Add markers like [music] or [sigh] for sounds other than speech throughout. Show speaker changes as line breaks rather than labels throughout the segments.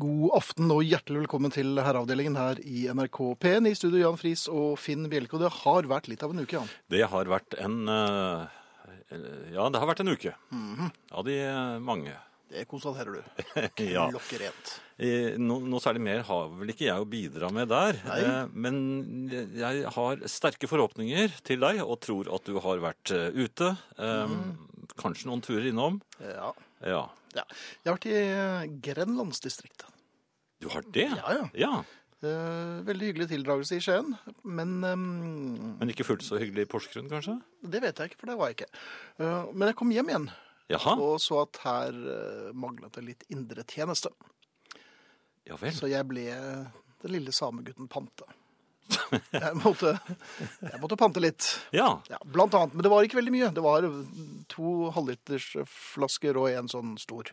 God aften og hjertelig velkommen til Herreavdelingen her i NRK P1. I studio Jan Friis og Finn Bjelke. Og det har vært litt av en uke, Jan.
Det har vært en eh, Ja, det har vært en uke.
Mhm.
Av de eh, mange.
Det konstaterer du. [laughs]
ja.
Lokkerent.
Eh, no, noe særlig mer har vel ikke jeg å bidra med der.
Nei.
Eh, Men jeg har sterke forhåpninger til deg og tror at du har vært eh, ute. Eh,
Mhm.
Kanskje noen turer innom.
Ja.
Ja.
ja. Jeg har vært i eh, Grenlandsdistriktet.
Du har det?
Ja, ja.
ja.
Eh, Veldig hyggelig tildragelse i Skien, men ehm,
Men ikke fullt så hyggelig i Porsgrunn, kanskje?
det vet jeg ikke, for det var jeg ikke. Eh, Men jeg kom hjem igjen
Jaha.
og så at her eh, manglet det litt indre tjeneste.
Ja vel.
Så jeg ble eh, den lille samegutten Pante. [laughs] Jeg måtte, jeg måtte pante litt.
Ja.
Ja, blant annet, men det var ikke veldig mye. Det var to halvlitersflasker og en sånn stor.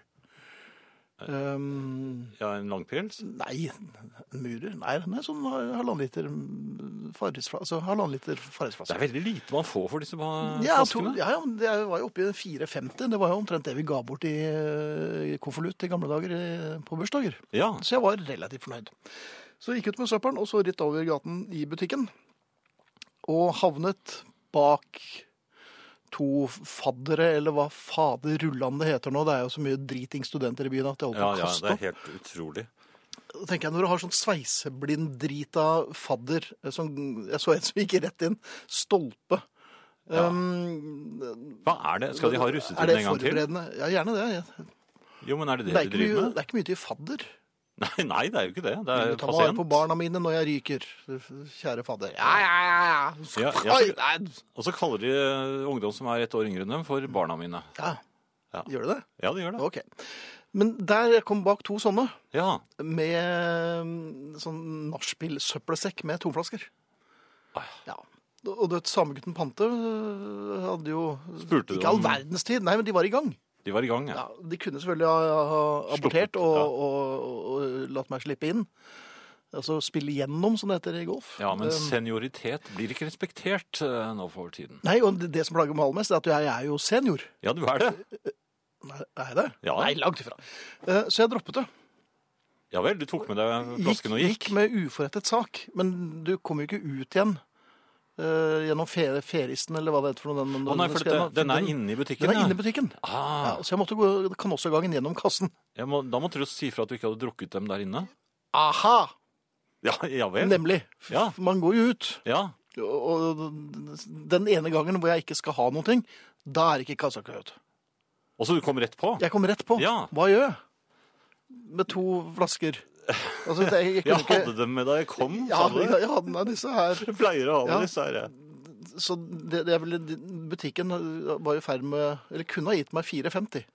Um,
ja en langpils?
nei, en murer? Nei, nei sånn halvannen liter mm, Farrisflaske. Altså halvannen liter
Det er
Farrisflaske.
veldig lite man får for disse ba-
Ja, to,
flaskene.
ja, ja, men det var jo oppe i 4,50. Det var jo omtrent det vi ga bort i, eh, i konvolutt i gamle dager eh, på bursdager.
Ja.
Så jeg var relativt fornøyd. Så jeg gikk ut med søppelen, og så rett over gaten i butikken. Og havnet bak to faddere, eller hva fader rullande heter nå. Det er jo så mye dritingstudenter i byen at jeg holdt på
Ja,
å
ja,
kaste
det
opp.
er helt utrolig.
Da tenker jeg, Når du har sånn sveiseblind-drita fadder eh, som, Jeg så en som gikk rett inn. Stolpe.
Ja.
Um,
Hva er det? Skal de ha
er
russetiden
det
en gang til?
forberedende? Ja, gjerne det.
Jo, men er det
Det er,
det, de
ikke
driver
mye,
med? [laughs]
det er ikke mye til fadder.
Nei, nei, det er jo ikke det. Det er
Vil du ta vare på
pasient.
barna mine når jeg ryker? Kjære fadder. Ja, ja, ja.
Ja,
ja.
ja,
Oi,
så-
nei.
Og så kaller de eh, ungdom som er ett år yngre enn dem, for barna mine.
ja.
Ja.
Gjør du det?
Ja, de gjør det.
Ok. Men der jeg kom bak to sånne
Ja,
med mm, sånn nachspiel-søppelsekk med tomflasker.
Ah.
Ja. Og du vet, samegutten Pante øh, hadde jo
Spurte du
Ikke all
om-
verdens tid, nei, men de var i gang.
de var i gang, ja.
Ja, de kunne selvfølgelig ha, ha abortert
Sluppet,
og,
ja.
og, og, og latt meg slippe inn. Altså spille gjennom, som det heter i golf.
Ja, men
Um,
senioritet blir ikke respektert eh, nå for tiden.
Nei, og det- det som plager meg aller mest, er at jeg er jo senior.
Ja, du er det.
Nei, er jeg det?
Ja.
Nei, langt ifra. Eh, Så jeg droppet det.
Ja vel, du tok med deg flasken og gikk.
gikk med uforrettet sak, men du kom jo ikke ut igjen. eh, gjennom fe- feristen, eller hva det heter for noe. Den,
Å nei, for dette, den er inne i
Den
butikken,
er inne i butikken. Ja,
Ah,
så jeg måtte gå kanossagangen gjennom kassen.
jeg må, da måtte du si fra at du ikke hadde drukket dem der inne.
Aha!
Ja, ja vel.
Nemlig. F-
Ja.
Man går jo ut.
Ja,
Og og den ene gangen hvor jeg ikke skal ha noen ting, da er ikke kassa kø ut.
og så du kom rett på.
Jeg kom rett på.
Ja.
Hva gjør jeg? Med to flasker. Altså, jeg, jeg
[laughs] Jeg
kunne
hadde
ikke...
dem med da jeg kom,
Ja,
sa du.
jeg hadde med disse her.
Jeg pleier å ha
Ja.
med disse her. jeg.
Så det, det, er vel- butikken var i ferd med Eller kunne ha gitt meg 4,50.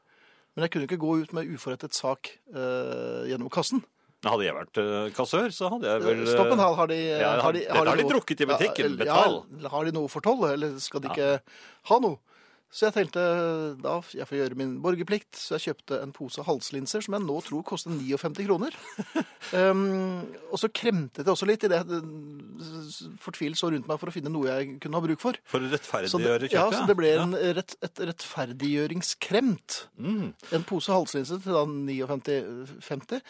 Men jeg kunne ikke gå ut med uforrettet sak eh, gjennom kassen.
Men Hadde jeg vært eh, kassør, så hadde jeg vel eh,
Stopp en hal, har de
ja, dette har de
noe-
drukket i butikken,
eller-
betal.
Ja, har de noe for toll, eller skal de ikke ha noe? Så jeg tenkte da jeg får gjøre min borgerplikt, så jeg kjøpte en pose halslinser som jeg nå tror koster 59
[laughs]
kroner. um, og så kremtet jeg også litt i det jeg eh, fortvilt så rundt meg for å finne noe jeg kunne ha bruk for.
For å
Så det,
rettferdiggjøre kjøpet.
ja, så det ble
ja.
en rett, et rettferdiggjøringskremt.
Mm.
En pose halslinse til da 59,50.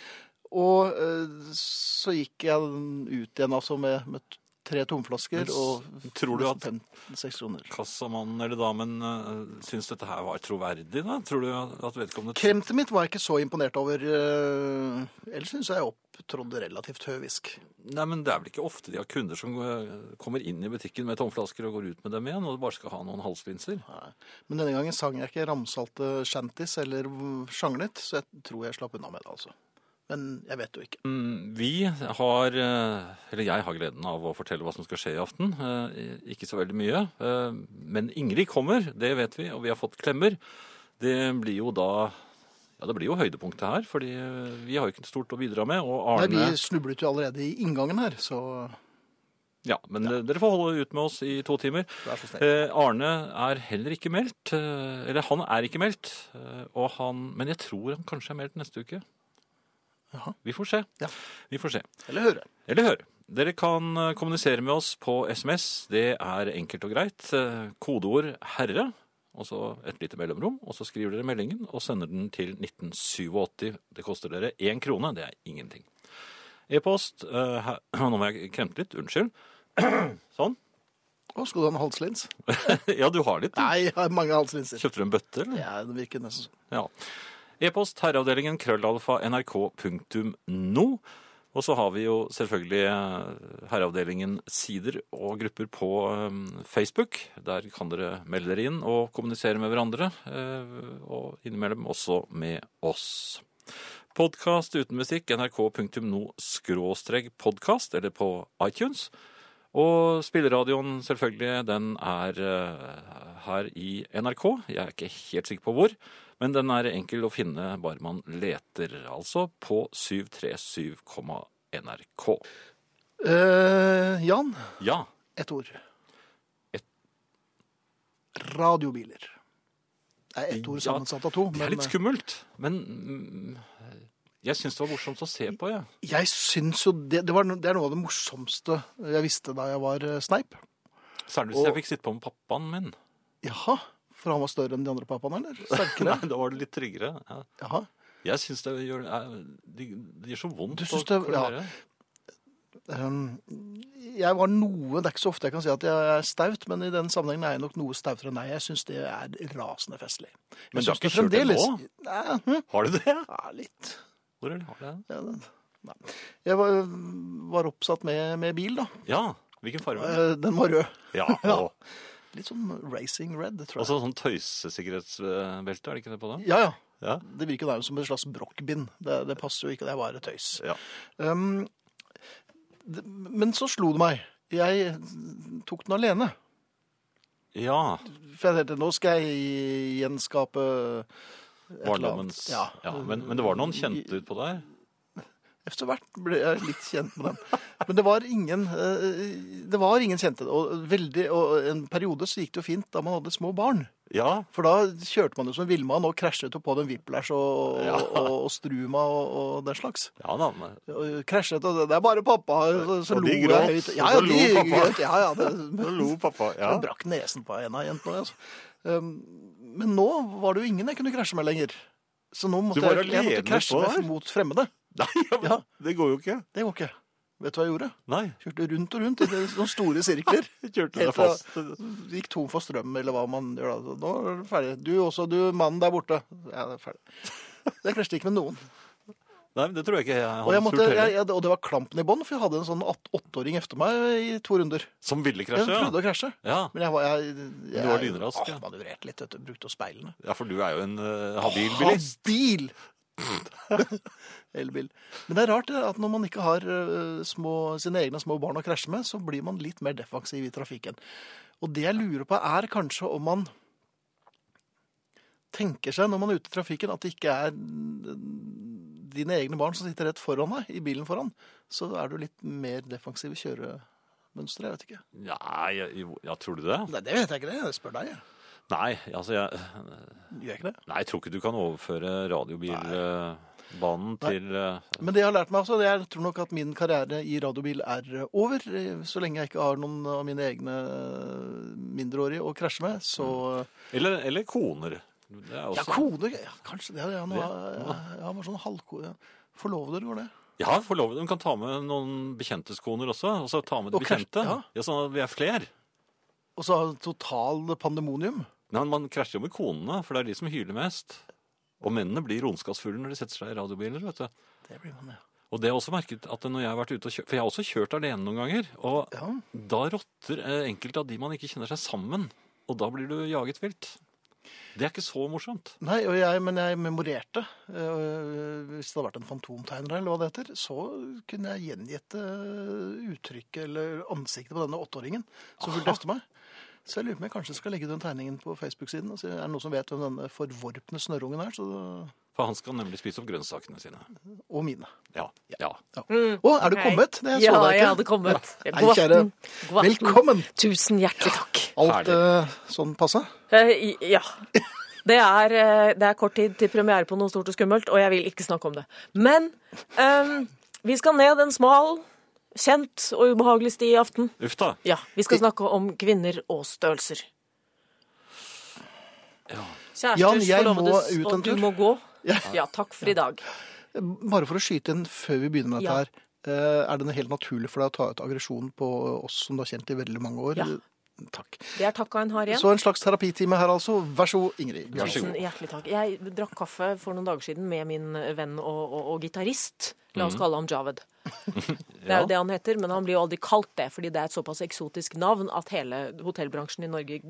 Og eh, så gikk jeg ut igjen altså med, med tre tomflasker
Men s-
og
tror du at-
nesten 15-6 kroner.
Kassamannen eller damen øh, syns dette her var troverdig, da? Tror du at vedkommende
Kremtet mitt var jeg ikke så imponert over. eh, Ellers syns jeg jeg opptrådte relativt høvisk.
Nei, men det er vel ikke ofte de har kunder som øh, kommer inn i butikken med tomflasker og går ut med dem igjen, og bare skal ha noen halslinser?
Nei. Men denne gangen sang jeg ikke ramsalte shanties eller v- sjanglet, så jeg tror jeg slapp unna med det, altså. Men jeg vet jo ikke.
Mm, Vi har, eh, eller jeg har gleden av å fortelle hva som skal skje i aften. Eh, Ikke så veldig mye. eh, Men Ingrid kommer, det vet vi, og vi har fått klemmer. Det blir jo da Ja, det blir jo høydepunktet her, fordi eh, vi har jo ikke stort å bidra med. Og Arne
Nei, vi snublet jo allerede i inngangen her, så
Ja, men eh, dere får holde ut med oss i to timer.
vær så snill.
Eh, Arne er heller ikke meldt. Eh, eller han er ikke meldt. Eh, og han, men jeg tror han kanskje er meldt neste uke.
Jaha.
Vi får se.
Ja.
Vi får se.
Eller høre.
Eller høre. Dere kan eh, kommunisere med oss på SMS. Det er enkelt og greit. Eh, Kodeord 'herre'. og så et lite mellomrom, og så skriver dere meldingen og sender den til 1987. Det koster dere én krone, det er ingenting. E-post eh, her- [clears throat] Nå må jeg kremte litt, unnskyld. [clears throat] sånn. [clears throat]
Å, skal du ha en halslins?
ja, du har litt. du.
Nei, jeg har mange halslinser.
Kjøpte du en bøtte, eller?
Ja, det virker nesten sånn.
Ja. E-post herreavdelingen krøllalfa nrk.no. Og så har vi jo selvfølgelig eh, herreavdelingen sider og grupper på eh, Facebook. Der kan dere melde dere inn og kommunisere med hverandre, eh, og innimellom også med oss. Podkast uten musikk, nrk.no-podkast, eller på iTunes. Og spilleradioen, selvfølgelig, den er eh, her i NRK. Jeg er ikke helt sikker på hvor, men den er enkel å finne bare man leter, altså på 737,nrk.
Eh, Jan,
Ja,
ett ord.
Et-
Radiobiler. Det er ett ord
Ja,
sammensatt av to.
det er litt skummelt, men mm, jeg syns det var morsomt å se på, jeg.
eh, Jeg syns jo det, det, var, no- det er noe av det morsomste jeg visste da jeg var eh, sneip.
Særlig hvis jeg fikk sitte på med pappaen min.
Jaha, for han var større enn de andre pappaene, eller? Sterkere?
[laughs] Nei, da var det litt tryggere. Ja.
Jaha.
Jeg syns det gjør er- Det det gjør så
Du
vondt
synes det- ja.
klare.
Um, jeg var noe, det er ikke så ofte jeg kan si at jeg er staut, men i den sammenhengen er jeg nok noe stautere enn deg. Jeg syns det er rasende festlig. Jeg
Men du har
synes
ikke kjørt det
fremdeles- Nei, hm,
Har du det?
ja, litt.
Hvor er det? Har du det?
Ja, det- nei. Jeg var, var oppsatt med, med bil, da.
Ja. Hvilken farge?
Eh, Den var rød.
Ja,
Ja.
og
Litt sånn racing red, tror jeg.
Også sånn tøysesikkerhetsbelte, er det ikke det på det?
ja, ja.
Ja.
Det virker nærmest som en slags brokkbind. Det, det passer jo ikke, det er bare tøys.
Ja.
Um, det, men så slo det meg. Jeg tok den alene.
ja.
For jeg tenkte, nå skal jeg gjenskape et eller annet.
Barndommens ja. men, men det var noen kjente ut på der?
Etter hvert ble jeg litt kjent med dem. Men det var ingen, eh, det var ingen kjente. Og, veldig, og en periode så gikk det jo fint da man hadde små barn.
Ja.
For da kjørte man jo som villmann og krasjet jo på den whiplash og,
Ja.
og, og, og struma og, og den slags.
Ja da. Men,
Og Krasjet og det, det er bare pappa. Så, så
Og de
lo jeg
gråt,
høyt.
og
Ja,
så
ja,
lo
de
pappa.
gråt. Ja, ja, det,
Nå lo pappa. Ja.
Jeg brakk nesen på en av jentene. Altså. Um, men nå var det jo ingen jeg kunne krasje med lenger. Så nå måtte
Du var
jeg, jeg måtte
alene
krasje
på
med,
her?
mot fremmede.
[laughs] Nei, ja, men,
Ja.
det går jo ikke.
Det går ikke. Vet du hva jeg gjorde?
Nei.
Kjørte rundt og rundt i noen store sirkler.
Jeg kjørte
Helt
deg fast.
Gikk tom for strøm, eller hva man gjør da. Nå er det ferdig. Du også, du mannen der borte. Ja, det er ferdig. Jeg krasjet ikke med noen.
Nei, men det tror jeg ikke jeg
Og,
hadde
jeg måtte,
turt
jeg,
heller.
jeg, og det var klampen i bånn, for jeg hadde en sånn åt- åtteåring efter meg i to runder.
Som ville
Jeg
krasje?
prøvde
Ja.
å krasje.
Ja.
Men jeg var jeg, jeg,
du var lynrask,
ja.
ja.
Manøvrerte litt, vet du. Brukte jo speilene.
ja, for du er jo en eh, habil bilist.
Bil! [laughs] Elbil. Men det er rart det, at når man ikke har eh, små, sine egne små barn å krasje med, så blir man litt mer defensiv i trafikken. Og det jeg lurer på, er kanskje om man tenker seg når man er ute i trafikken, at det ikke er mm, dine egne barn som sitter rett foran deg, i bilen foran. Så er du litt mer defensiv i kjøremønsteret, jeg vet ikke.
Nei, jeg, ja, tror du det?
Nei, det vet jeg ikke, det. Jeg spør deg, jeg.
Nei, altså jeg
Gjør jeg ikke det?
Nei, jeg tror ikke du kan overføre radiobilbanen
Nei.
til eh,
Men det jeg har lært meg, altså, det er- jeg tror nok at min karriere i radiobil er eh, over. Eh, Så lenge jeg ikke har noen av mine egne eh, mindreårige å krasje med, så
Eller, eller koner. Det er
Ja,
også...
kone ja, Kanskje det. Ja, nå,
Det-
er- ja, ja, bare sånn halvko... Ja. Forlovede, går det?
Ja, forlovet. Hun kan ta med noen bekjenteskoner også. Og så ta med
Og
de
krasj-
bekjente.
ja.
Ja. Sånn at vi er fler.
Og så har jeg total pandemonium.
Nei, men Man krasjer jo med konene, for det er de som hyler mest. Og mennene blir ronskassfulle når de setter seg i radiobiler. vet du.
Det blir man, ja.
Og det er også merket at når jeg har vært ute og kjørt, For jeg har også kjørt alene noen ganger. Og
ja.
da rotter eh, enkelte av de man ikke kjenner seg sammen. Og da blir du jaget vilt. Det er ikke så morsomt.
Nei, og jeg, men jeg memorerte. eh, Hvis det hadde vært en fantomtegner, eller hva det heter, så kunne jeg gjengitt eh, uttrykket eller ansiktet på denne åtteåringen som fulgte efter meg. Så jeg lurer på om jeg kanskje skal legge den tegningen på Facebook-siden. og se, Er det noen som vet hvem denne forvorpne snørrungen er? Så,
For han skal nemlig spise opp grønnsakene sine.
og mine.
Ja. ja.
Å, er du
Hei.
kommet? Det så
Mm, ja,
jeg
jeg
ikke.
hadde kommet.
Nei,
God
kjære.
aften. God aften.
Velkommen!
Tusen hjertelig takk.
Alt eh, sånn passe?
Eh, i- ja. Det er, eh, det er kort tid til premiere på noe stort og skummelt, og jeg vil ikke snakke om det. Men ehm, vi skal ned en smal, kjent og ubehagelig sti i aften.
Uff da.
Ja, Vi skal snakke om kvinner og størrelser. Kjæresters
Jan, jeg må
forlovedes,
ut en
og
tur.
du må gå.
Ja.
Ja, takk for i dag.
Bare for å skyte inn før vi begynner med dette
Ja.
her. eh, Er det noe helt naturlig for deg å ta ut aggresjon på oss som du har kjent i veldig mange år?
Ja.
Takk.
Det er takka en har igjen.
Så en slags terapitime her altså. Vær så god, Ingrid.
Vær så
Bjørnsen.
god.
Tusen hjertelig takk. Jeg drakk kaffe for noen dager siden med min venn og, og, og gitarist. La oss kalle ham Javed. Det er
Mhm. Ja.
jo det han heter, men han blir jo aldri kalt det, fordi det er et såpass eksotisk navn at hele hotellbransjen i Norge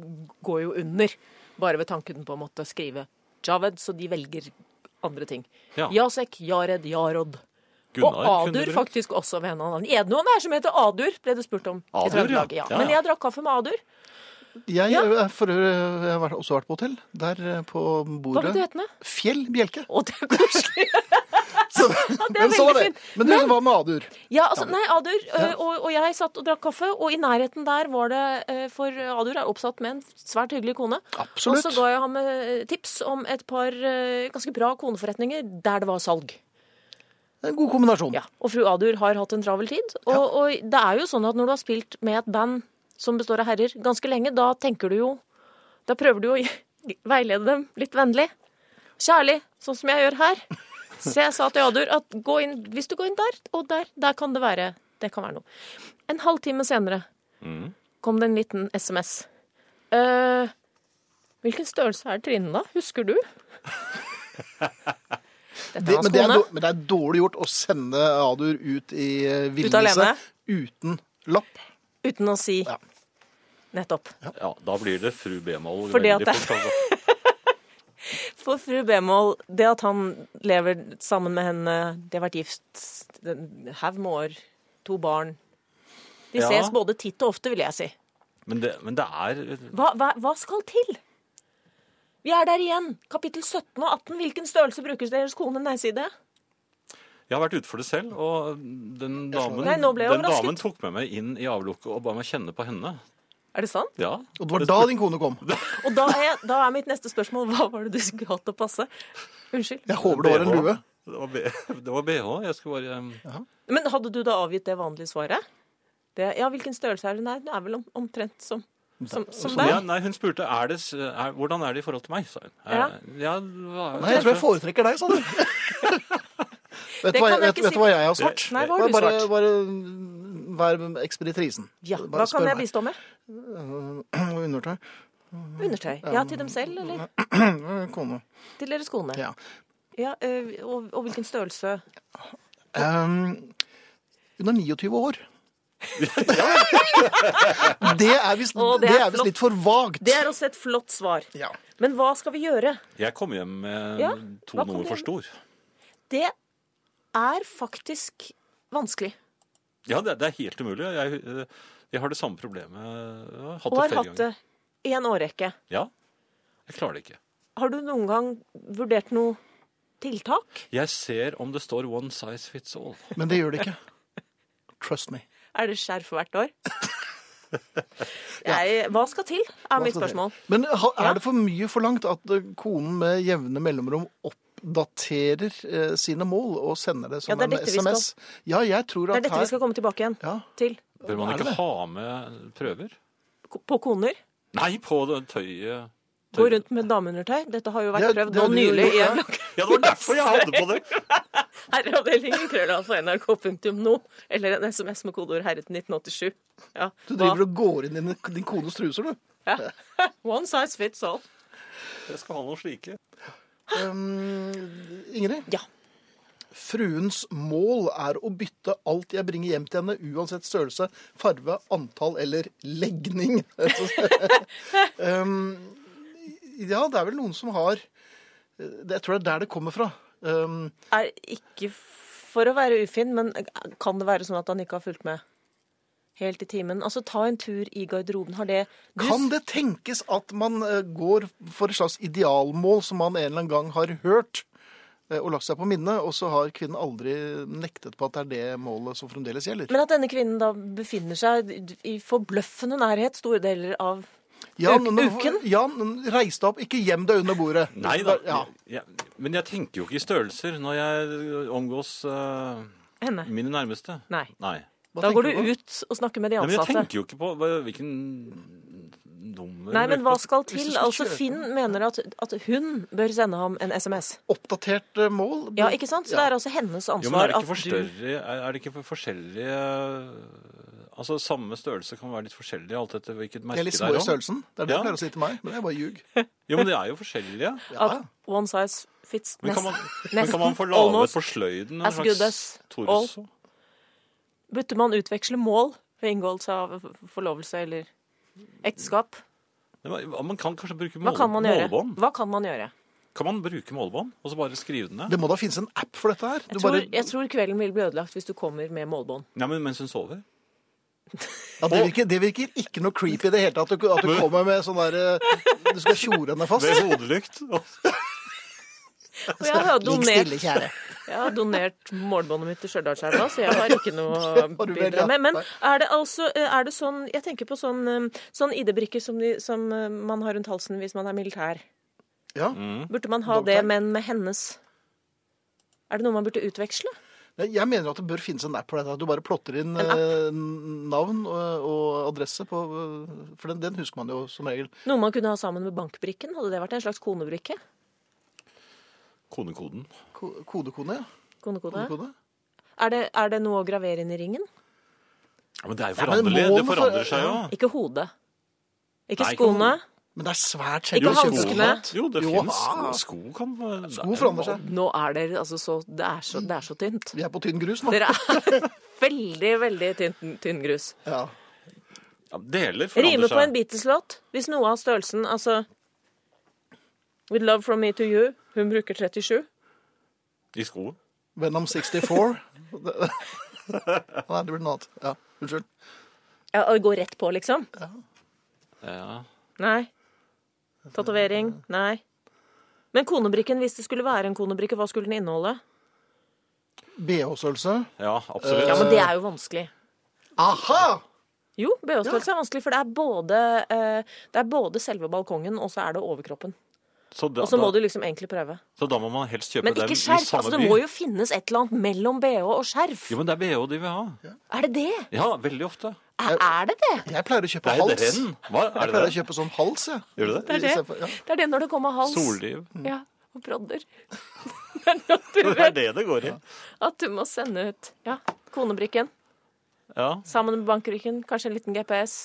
går jo under bare ved tanken på å måtte skrive Javed, så de velger andre ting.
Ja.
Jasek, Jared, Jarod. Og
Gunnar kunne
Adur
brukt.
faktisk også ved en annen. Er det noen her som heter Adur, ble det spurt om. i
Adur,
Trøndelag,
ja.
ja.
Ja,
Men
ja.
jeg drakk kaffe med Adur.
Jeg,
Ja.
eh, for, øvrig, jeg har vært- også vært på hotell. Der eh, på
Hva ble
bordet
du hetende?
Fjell Bjelke.
[laughs] Å, det er koselig.
Så, [laughs] men så
veldig
var det.
fint.
Men du var med Adur.
Ja, altså, nei, Adur ø, og, og jeg satt og drakk kaffe, og i nærheten der var det ø, For Adur er oppsatt med en svært hyggelig kone. Og så
Absolutt.
ga jeg ham ø, tips om et par ø, ganske bra koneforretninger der det var salg.
En god kombinasjon.
Ja, Og fru Adur har hatt en travel tid. Og, og det er jo sånn at når du har spilt med et band som består av herrer ganske lenge, da tenker du jo Da prøver du jo å veilede dem litt vennlig. Kjærlig, sånn som jeg gjør her. Så jeg sa til Adur at gå inn, hvis du går inn der og der, der kan det være Det kan være noe. En halvtime senere
Mm.
kom det en liten SMS. Eh, hvilken størrelse er Trine, da? Husker
[laughs]
du? Dette er
Det,
hans
men, det er,
kone.
dår- men det er dårlig gjort å sende Adur ut i eh, villnisse
alene?
uten lapp.
Uten å si
Ja.
nettopp.
Ja, da blir det fru Bemal
Fordi at
veldig
det-
fort. Altså.
For fru Bemål, det at han lever sammen med henne, de har vært gift en haug med år, to barn De
Ja.
ses både titt og ofte, vil jeg si.
Men, det, men det er
Hva, hva, hva skal til? Vi er der igjen. Kapittel 17 og 18. Hvilken størrelse brukes deres kone nei-side?
Jeg har vært ute for det selv, og den damen,
Nei, nå ble jeg
den
overrasket.
damen tok med meg inn i avlukket og ba meg kjenne på henne.
Er det sant?
Ja.
Og det var da din kone kom.
Og da er, jeg- da er mitt neste spørsmål hva var det du skulle hatt å passe? Unnskyld.
Jeg håper det var en
BH.
lue.
Det var, B- [laughs] det var BH. Jeg skulle bare um,
Men hadde du da avgitt det vanlige svaret? Det, ja, hvilken størrelse er det? Nei, det er vel om, omtrent som, som, som deg.
ja, Nei, hun spurte er det, s- er, hvordan er det i forhold til meg, sa hun.
Ja.
Er- ja hva-
Nei, jeg tror jeg foretrekker deg, sa [laughs] du. vet du
Det
hva,
kan jeg
jeg- vet,
ikke
vet
si.
du hva jeg har svart?
Nei, hva har du
bare,
svart?
Bare vær ekspeditrisen.
Ja,
bare
Hva kan jeg bistå med?
[clears throat] meg. Undertøy.
Undertøy. Ja, til dem selv, eller
Eh, Kone.
til deres kone?
Ja.
Ja, ø, og, og hvilken størrelse?
Ehm, hun er 29
[laughs]
år. det er visst
Å, det
det
er
er visst
flott.
litt for vagt.
Det er også et flott svar.
Ja.
Men hva skal vi gjøre?
Jeg kom hjem med
Ja,
to
hva kom
noe
du
for
hjem-
stor.
Det er faktisk vanskelig.
Ja, det, det er helt umulig. Jeg, eh, jeg har det samme problemet. Jeg har hatt
Og
det
har
flere
hatt det
ganger.
i en årrekke.
Ja, jeg klarer det ikke.
Har du noen gang vurdert noe tiltak?
Jeg ser om det står one size fits all.
Men det gjør det ikke. Trust me.
Er det skjerf hvert
[laughs]
år? Jeg, hva skal til, er mitt spørsmål.
Men ha-
Ja.
er det for mye forlangt at eh, konen med jevne mellomrom oppdaterer eh, sine mål og sender det som
Ja, det er
en
dette vi
SMS? Ja, jeg tror
Det
at
er dette vi skal komme tilbake igjen
Ja.
til.
Bør
Er
man
det
ikke
det?
ha med prøver?
Ko- På koner.
Nei, på det tøyet.
Gå rundt med dameundertøy. Dette har jo vært
Ja,
prøvd
det
nå
har du jo
nylig
gjort,
i
ja.
en lokal
Ja, det var derfor jeg hadde på det.
Herreavdelingen krøllalfa nrk.no, eller en SMS med kodeord 'herre' til 1987. Ja.
Du driver og går inn i din- din kones truser, du.
ja. One size fits all.
Jeg skal ha noen slike.
Ingrid?
Ja.
Fruens mål er å bytte alt jeg bringer hjem til henne, uansett størrelse, farve, antall eller legning. [laughs] um, ja, det er vel noen som har Jeg tror det er der det kommer fra. Um,
Er ikke for å være ufin, men kan det være sånn at han ikke har fulgt med helt i timen? Altså, ta en tur i garderoben. Har det du,
Kan det tenkes at man eh, går for et slags idealmål som man en eller annen gang har hørt eh, og lagt seg på minnet, og så har kvinnen aldri nektet på at det er det målet som fremdeles gjelder?
Men at denne kvinnen da befinner seg i forbløffende nærhet store deler av
Jan,
Uk-
nå-
uken?
Jan, reis deg opp. Ikke gjem deg under bordet.
Nei da.
Ja.
Jeg, men jeg tenker jo ikke i størrelser når jeg omgås eh,
henne.
mine nærmeste.
Nei.
Nei.
Mm. Hva
Da
tenker
går
du på?
du ut og snakker med de
Nei, men jeg
ansatte.
tenker jo ikke på hva- hvilken nummer
Nei, men hva skal
Hvis du
til?
skal
Altså,
kjøpe-
Finn mener at, at hun bør sende ham en SMS.
Oppdatert eh, mål.
Ja, ikke sant? Så det
Ja.
er altså hennes ansvar
Jo, men er det ikke for
at du-
større Er er det ikke for forskjellige Altså, samme størrelse kan være litt forskjellig alt etter hvilket
De
merke
er litt
det
små
er.
i
om.
størrelsen. Det er det
Ja.
jeg pleier å si til meg, men det er bare ljug.
Jo, men de er jo forskjellige.
Ja.
at one size fits
Men kan
nest-
man, men kan man få laget
almost
på sløyden
as good as all.
torso?
Burde man utveksle mål ved inngåelse av forlovelse eller ekteskap?
Nei, men Man kan kanskje bruke
Hva
mål,
kan man gjøre?
målebånd?
Hva kan man gjøre?
Kan man bruke målebånd og så bare skrive den ned?
Det må da finnes en app for dette her. Du
Jeg tror,
bare,
jeg tror kvelden vil bli ødelagt hvis du kommer
[laughs]
med målbånd.
Nei, men mens hun
[laughs]
sover?
ja, det, virker, det virker ikke noe creepy i det hele tatt. At du, at du kommer med sånn der eh, Du skal tjore henne fast.
Ved hodelykt?
Og jeg har
Ligg
donert,
stille, kjære.
[laughs] jeg har donert målbåndet mitt til Stjørdalselva, så jeg har ikke noe å
du vel, [laughs]
bidra
ja.
med. Men
Nei.
er det altså er det sånn Jeg tenker på sånn, um, sånn ID-brikke som, de- som uh, man har rundt halsen hvis man er militær.
Ja.
Burde man ha
Dogtag.
det, men med hennes? Er det noe man burde utveksle?
Nei, Jeg mener at det bør finnes en app for dette. At du bare plotter inn
En app?
eh, navn og, og adresse på eh, For den, den husker man jo som regel.
Noe man kunne ha sammen med bankbrikken? Hadde det vært en slags konebrikke?
Konekoden.
Ko- Kodekone, ja.
Konekode?
Kodekone.
Er det, er det noe å gravere inn i ringen?
Ja, men det er
Ja,
jo
men
foranderlig.
må
det
den for-
forandrer seg jo.
Ikke hodet.
Nei,
Ikke
ikke
skoene.
hodet.
Men det er svært
Ikke
sjelden å kjøpe
hanskene.
sånt.
Jo, det
Jo,
finnes sko.
ah.
Sko kan
Sko forandrer seg.
Nå er dere altså så Det er så, det er så tynt.
Vi er på tynn grus nå.
Dere er [laughs] veldig, veldig tynn, tynn grus.
Ja.
Ja, deler
Rime
forandrer
på en
seg.
Beatles-låt. Hvis noe av størrelsen Altså With love from me to you. Hun bruker 37.
I sko.
Venom 64. Det- Nei, det blir noe annet. Ja, unnskyld.
Ja, og går rett på, liksom.
Ja.
Nei. Tatovering. Nei. Men konebrikken, hvis det skulle være en konebrikke, hva skulle den inneholde?
BH-størrelse.
ja, absolutt.
Ja, men det er jo vanskelig.
Aha!
Jo, BH-størrelse er vanskelig, for det er, både, eh, det er både selve balkongen, og så er det overkroppen.
Så da,
Og så må
da,
du liksom egentlig prøve.
så da må man helst kjøpe
Men
dem
ikke
i
skjerf!
samme
Altså, det
by.
må jo finnes et eller annet mellom BH og skjerf.
Jo, men det er BH de vil ha.
Er det det?
Ja, veldig ofte.
Er, er det det?
Jeg pleier å kjøpe
Det er jo
hals.
den. Hva,
Jeg
er det
pleier å
det?
kjøpe sånn hals, jeg.
Gjør du det?
Det
I
er
stedet
det,
for- ja.
det, er det når det kommer hals.
Solliv.
Ja, og brodder. [laughs] Det er noe du [laughs]
Det er
vet
det det går i.
at du må sende ut. Ja, konebrikken
Ja.
sammen med bankbrikken, kanskje en liten GPS.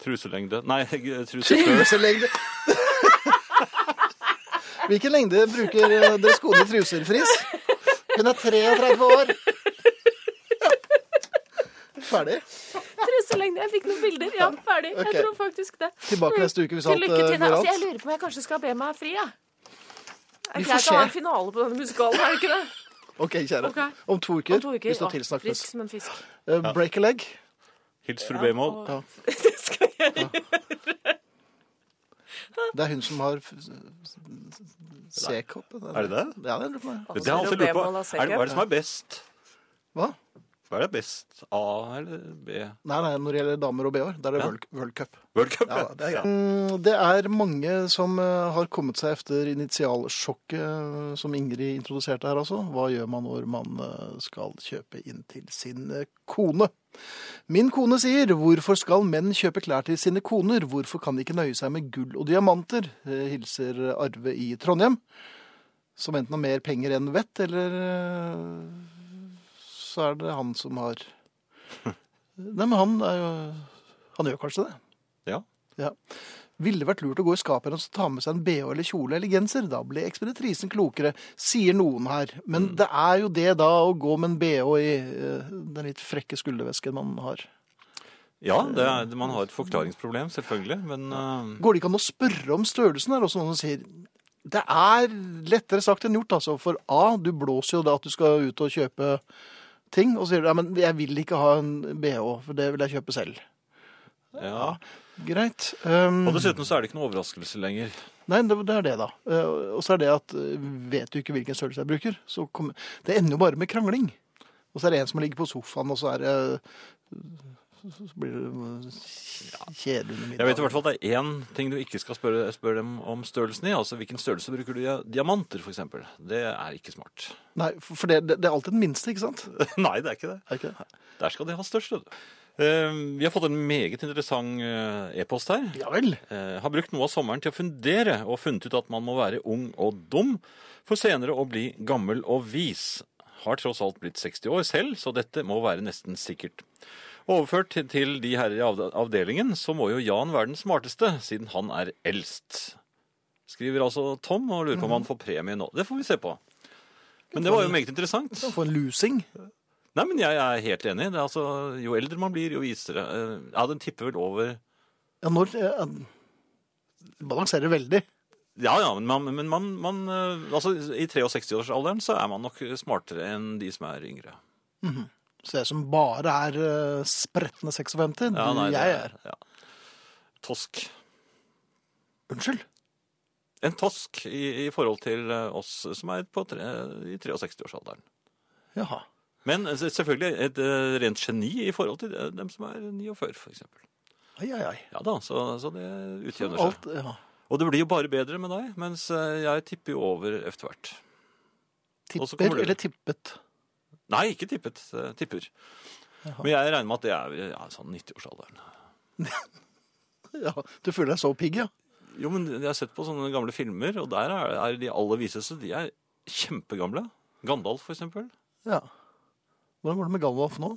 Truselengde. Nei, trusestørrelse.
Truselengde. Hvilken lengde bruker eh, dere skoene i truser, Friis? Hun er 33 år. Ferdig.
Truselengde. Jeg fikk noen bilder. Ja, ferdig.
Ok.
Jeg tror faktisk det.
Tilbake neste uke hvis
Til
alt
lykke
eh,
til.
går
Altså, jeg
alt.
lurer på om jeg kanskje skal be meg fri, jeg.
Vi
Det er
får
greit å ha en
se.
finale på denne musikalen, er det ikke det?
OK, kjære.
Ok.
Om to uker,
Om to uker.
hvis du har
Å,
tilsnakkes.
frisk som en fisk.
Eh, Break a leg.
Hils fru Bemål.
Ja.
Det skal jeg gjøre.
Det er hun som har f- s- s- C-kopp.
Er det det?
Ja, det lurer jeg på.
Det har jeg alltid lurt på.
Bemål og
Er det, hva er det som er best?
Hva?
Hva er det best? A eller B?
Nei, nei, når det gjelder damer og BH-er, da er det World, World Cup.
World Cup,
Ja, det er greit. Mm, Det er mange som eh, har kommet seg efter initialsjokket eh, som Ingrid introduserte her, altså. Hva gjør man når man eh, skal kjøpe inn til sin eh, kone? Min kone sier 'Hvorfor skal menn kjøpe klær til sine koner? Hvorfor kan de ikke nøye seg med gull og diamanter?' Eh, hilser Arve i Trondheim. Som enten har mer penger enn vett, eller eh, så er det han som har Nei, men han er jo Han gjør kanskje det.
Ja.
Ja. Ville det vært lurt å gå i skapet hennes og ta med seg en bh eller kjole eller genser? Da ble ekspeditrisen klokere, sier noen her. Men det er jo det da å gå med en bh i eh, den litt frekke skuldervesken man har.
Ja, det er, man har et forklaringsproblem, selvfølgelig. Men eh,
Går det ikke an å spørre om størrelsen? Er det også noen som sier det er lettere sagt enn gjort, altså. For A, du blåser jo da at du skal ut og kjøpe ting, og så sier du ja, men jeg vil ikke ha en bh, for det vil jeg kjøpe selv.
ja.
Greit. Um,
Og dessuten så er det ikke noe overraskelse lenger.
Nei, det, det er det, da. Eh, Og så er det at eh, vet du ikke hvilken størrelse jeg bruker, så kommer Det ender jo bare med krangling. Og så er det en som ligger på sofaen, og så er det eh, Så så blir det eh, kjedelig under middagen.
Jeg vet i hvert fall det er én ting du ikke skal spørre, spørre dem om størrelsen i. Altså hvilken størrelse bruker du i diamanter, f.eks. Det er ikke smart.
[laughs]
[laughs]
Nei, for for det, det, det er alltid den minste, ikke sant?
Nei, det er ikke det.
Er det ikke det?
Der skal de ha størst, vet du. Eh, Vi har fått en meget interessant eh, e-post her.
Ja vel.
Eh, har brukt noe av sommeren til å fundere og funnet ut at man må være ung og dum for senere å bli gammel og vis. Har tross alt blitt 60 år selv, så dette må være nesten sikkert. Overført til- til de herrer i avde- avdelingen, så må jo Jan være den smarteste, siden han er eldst. Skriver altså Tom og lurer på om han får premie nå. Det får vi se på. Men det var jo meget interessant.
Du kan få en lusing.
Nei, men jeg er helt enig. Det er altså, jo eldre man blir, jo visere. Eh, Ja, den tipper vel over
Ja, når ja, Balanserer veldig.
Ja, ja, men, man, men man, man eh, altså, i 63-årsalderen så er man nok smartere enn de som er yngre.
Så jeg som bare er eh, spretne 56,
Ja,
du,
nei, det
jeg er
Ja. Tosk.
Unnskyld?
En tosk i, i forhold til eh, oss som er på tre, i 63-årsalderen.
Jaha.
Men eh, selvfølgelig et eh, rent geni i forhold til eh, dem som er 49, for eksempel.
Ai, ai, ai.
Ja da, så, så det utjevner seg.
Alt, ja.
Og det blir jo bare bedre med deg, mens eh, jeg tipper jo over efter hvert. Og så kommer
Tipper
du.
eller tippet?
Nei, ikke tippet. eh, Tipper. Men jeg regner med at det er eh, ja, sånn 90-årsalderen.
Ja, du føler deg så pigg, ja.
Jo, men jeg har sett på sånne gamle filmer, og der er, er de aller viseste. De er kjempegamle. Gandalf, for eksempel.
ja. Hvordan går det med Galvalf nå?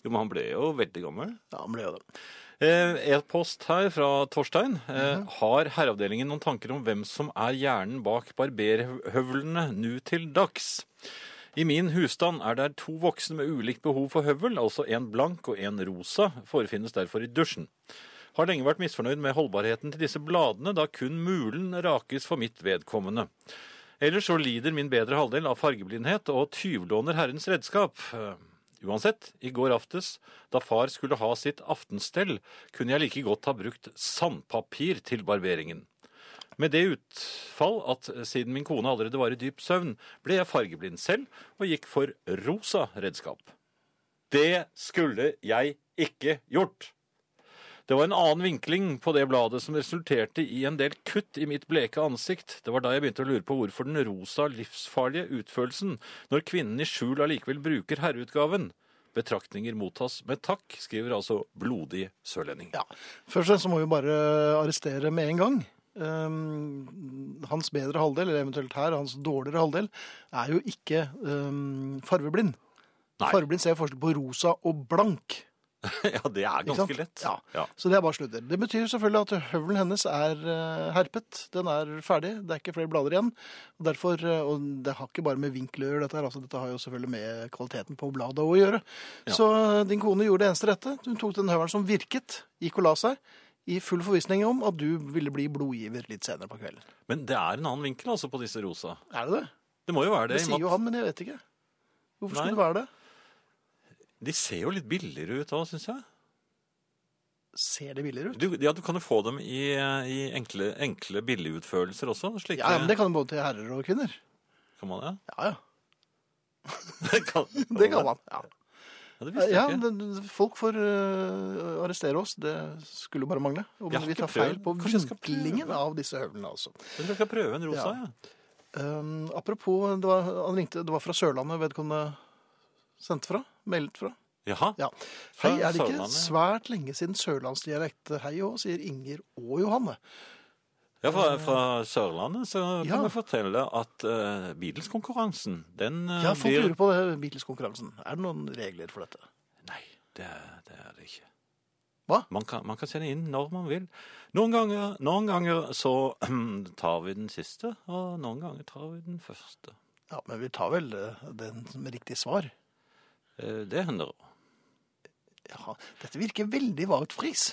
Jo, men han ble jo veldig gammel.
Ja, han ble jo det.
Eh, E-post her fra Torstein. Eh, har herreavdelingen noen tanker om hvem som er hjernen bak barberhøvlene nu til dags? I min husstand er det to voksne med ulikt behov for høvel, altså en blank og en rosa, forefinnes derfor i dusjen. Har lenge vært misfornøyd med holdbarheten til disse bladene, da kun mulen rakes for mitt vedkommende. Ellers så lider min bedre halvdel av fargeblindhet og tyvlåner herrens redskap. Eh, Uansett, i går aftes, da far skulle ha sitt aftenstell, kunne jeg like godt ha brukt sandpapir til barberingen. Med det utfall at siden min kone allerede var i dyp søvn, ble jeg fargeblind selv og gikk for rosa redskap. Det skulle jeg ikke gjort! Det var en annen vinkling på det bladet som resulterte i en del kutt i mitt bleke ansikt. Det var da jeg begynte å lure på hvorfor den rosa livsfarlige utførelsen, når kvinnen i skjul allikevel bruker herreutgaven. Betraktninger mottas med takk, skriver altså blodig sørlending.
Ja. Først og fremst så må vi bare arrestere med en gang. Um, hans bedre halvdel, eller eventuelt her, hans dårligere halvdel, er jo ikke um, farveblind.
Nei.
Farveblind ser forskjell på rosa og blank.
[laughs] Ja, det er
Ikke sant?
ganske lett.
Ja.
Ja.
Så det er bare sludder. Det betyr selvfølgelig at høvelen hennes er eh, herpet. Den er ferdig. Det er ikke flere blader igjen. Og, derfor, eh, og det har ikke bare med vinkel å gjøre, dette her. Altså, dette har jo selvfølgelig med kvaliteten på bladet å gjøre. Så eh, din kone gjorde det eneste rette. Hun tok den høvelen som virket, gikk og la seg. I full forvissning om at du ville bli blodgiver litt senere på kvelden.
Men det er en annen vinkel altså på disse rosa.
Er det det?
Det må jo være det.
Det
i og
sier
med
jo han, men jeg vet ikke. Hvorfor
Nei.
skulle det være det?
at De ser jo litt billigere ut òg, syns jeg.
Ser det billigere ut?
Du, ja, du kan jo få dem i, i enkle, enkle billigutførelser også. Slike,
Ja, ja, men det kan jo både til herrer og kvinner.
kan man, ja. [laughs]
Ja, ja.
Det kan,
[laughs] Det kan man. Ja.
Ja, det visste jeg
Ja,
ikke.
det- det- folk får øh, arrestere oss. Det skulle bare mangle. Og
Jeg har
vi
ikke
tar feil
prøvd.
på
Kanskje jeg skal prøve?
vinklingen av disse høvlene, altså.
Men Jeg skal prøve en rosa,
Ja.
jeg.
Ehm, apropos, det var, han ringte, det var fra Sørlandet vedkommende sendte fra? Meldt fra?
Jaha.
Ja.
Fra
Hei, er det ikke
Sørlandet, ja.
svært lenge siden sørlandsdialekt hei òg, sier Inger og Johanne.
Ja, fra, fra Sørlandet så
Ja.
kan vi fortelle at uh, Beatles-konkurransen, den eh,
Ja, folk
blir
lurer på det, Beatles-konkurransen. Er det noen regler for dette?
Nei, det, er- det er det ikke.
Hva?
Man kan, man kan sende inn når man vil. Noen ganger, noen ganger så [clears throat] tar vi den siste, og noen ganger tar vi den første.
Ja, men vi tar vel øh, den med riktig svar.
Eh, det hender òg.
Ja, dette virker veldig vagt fris.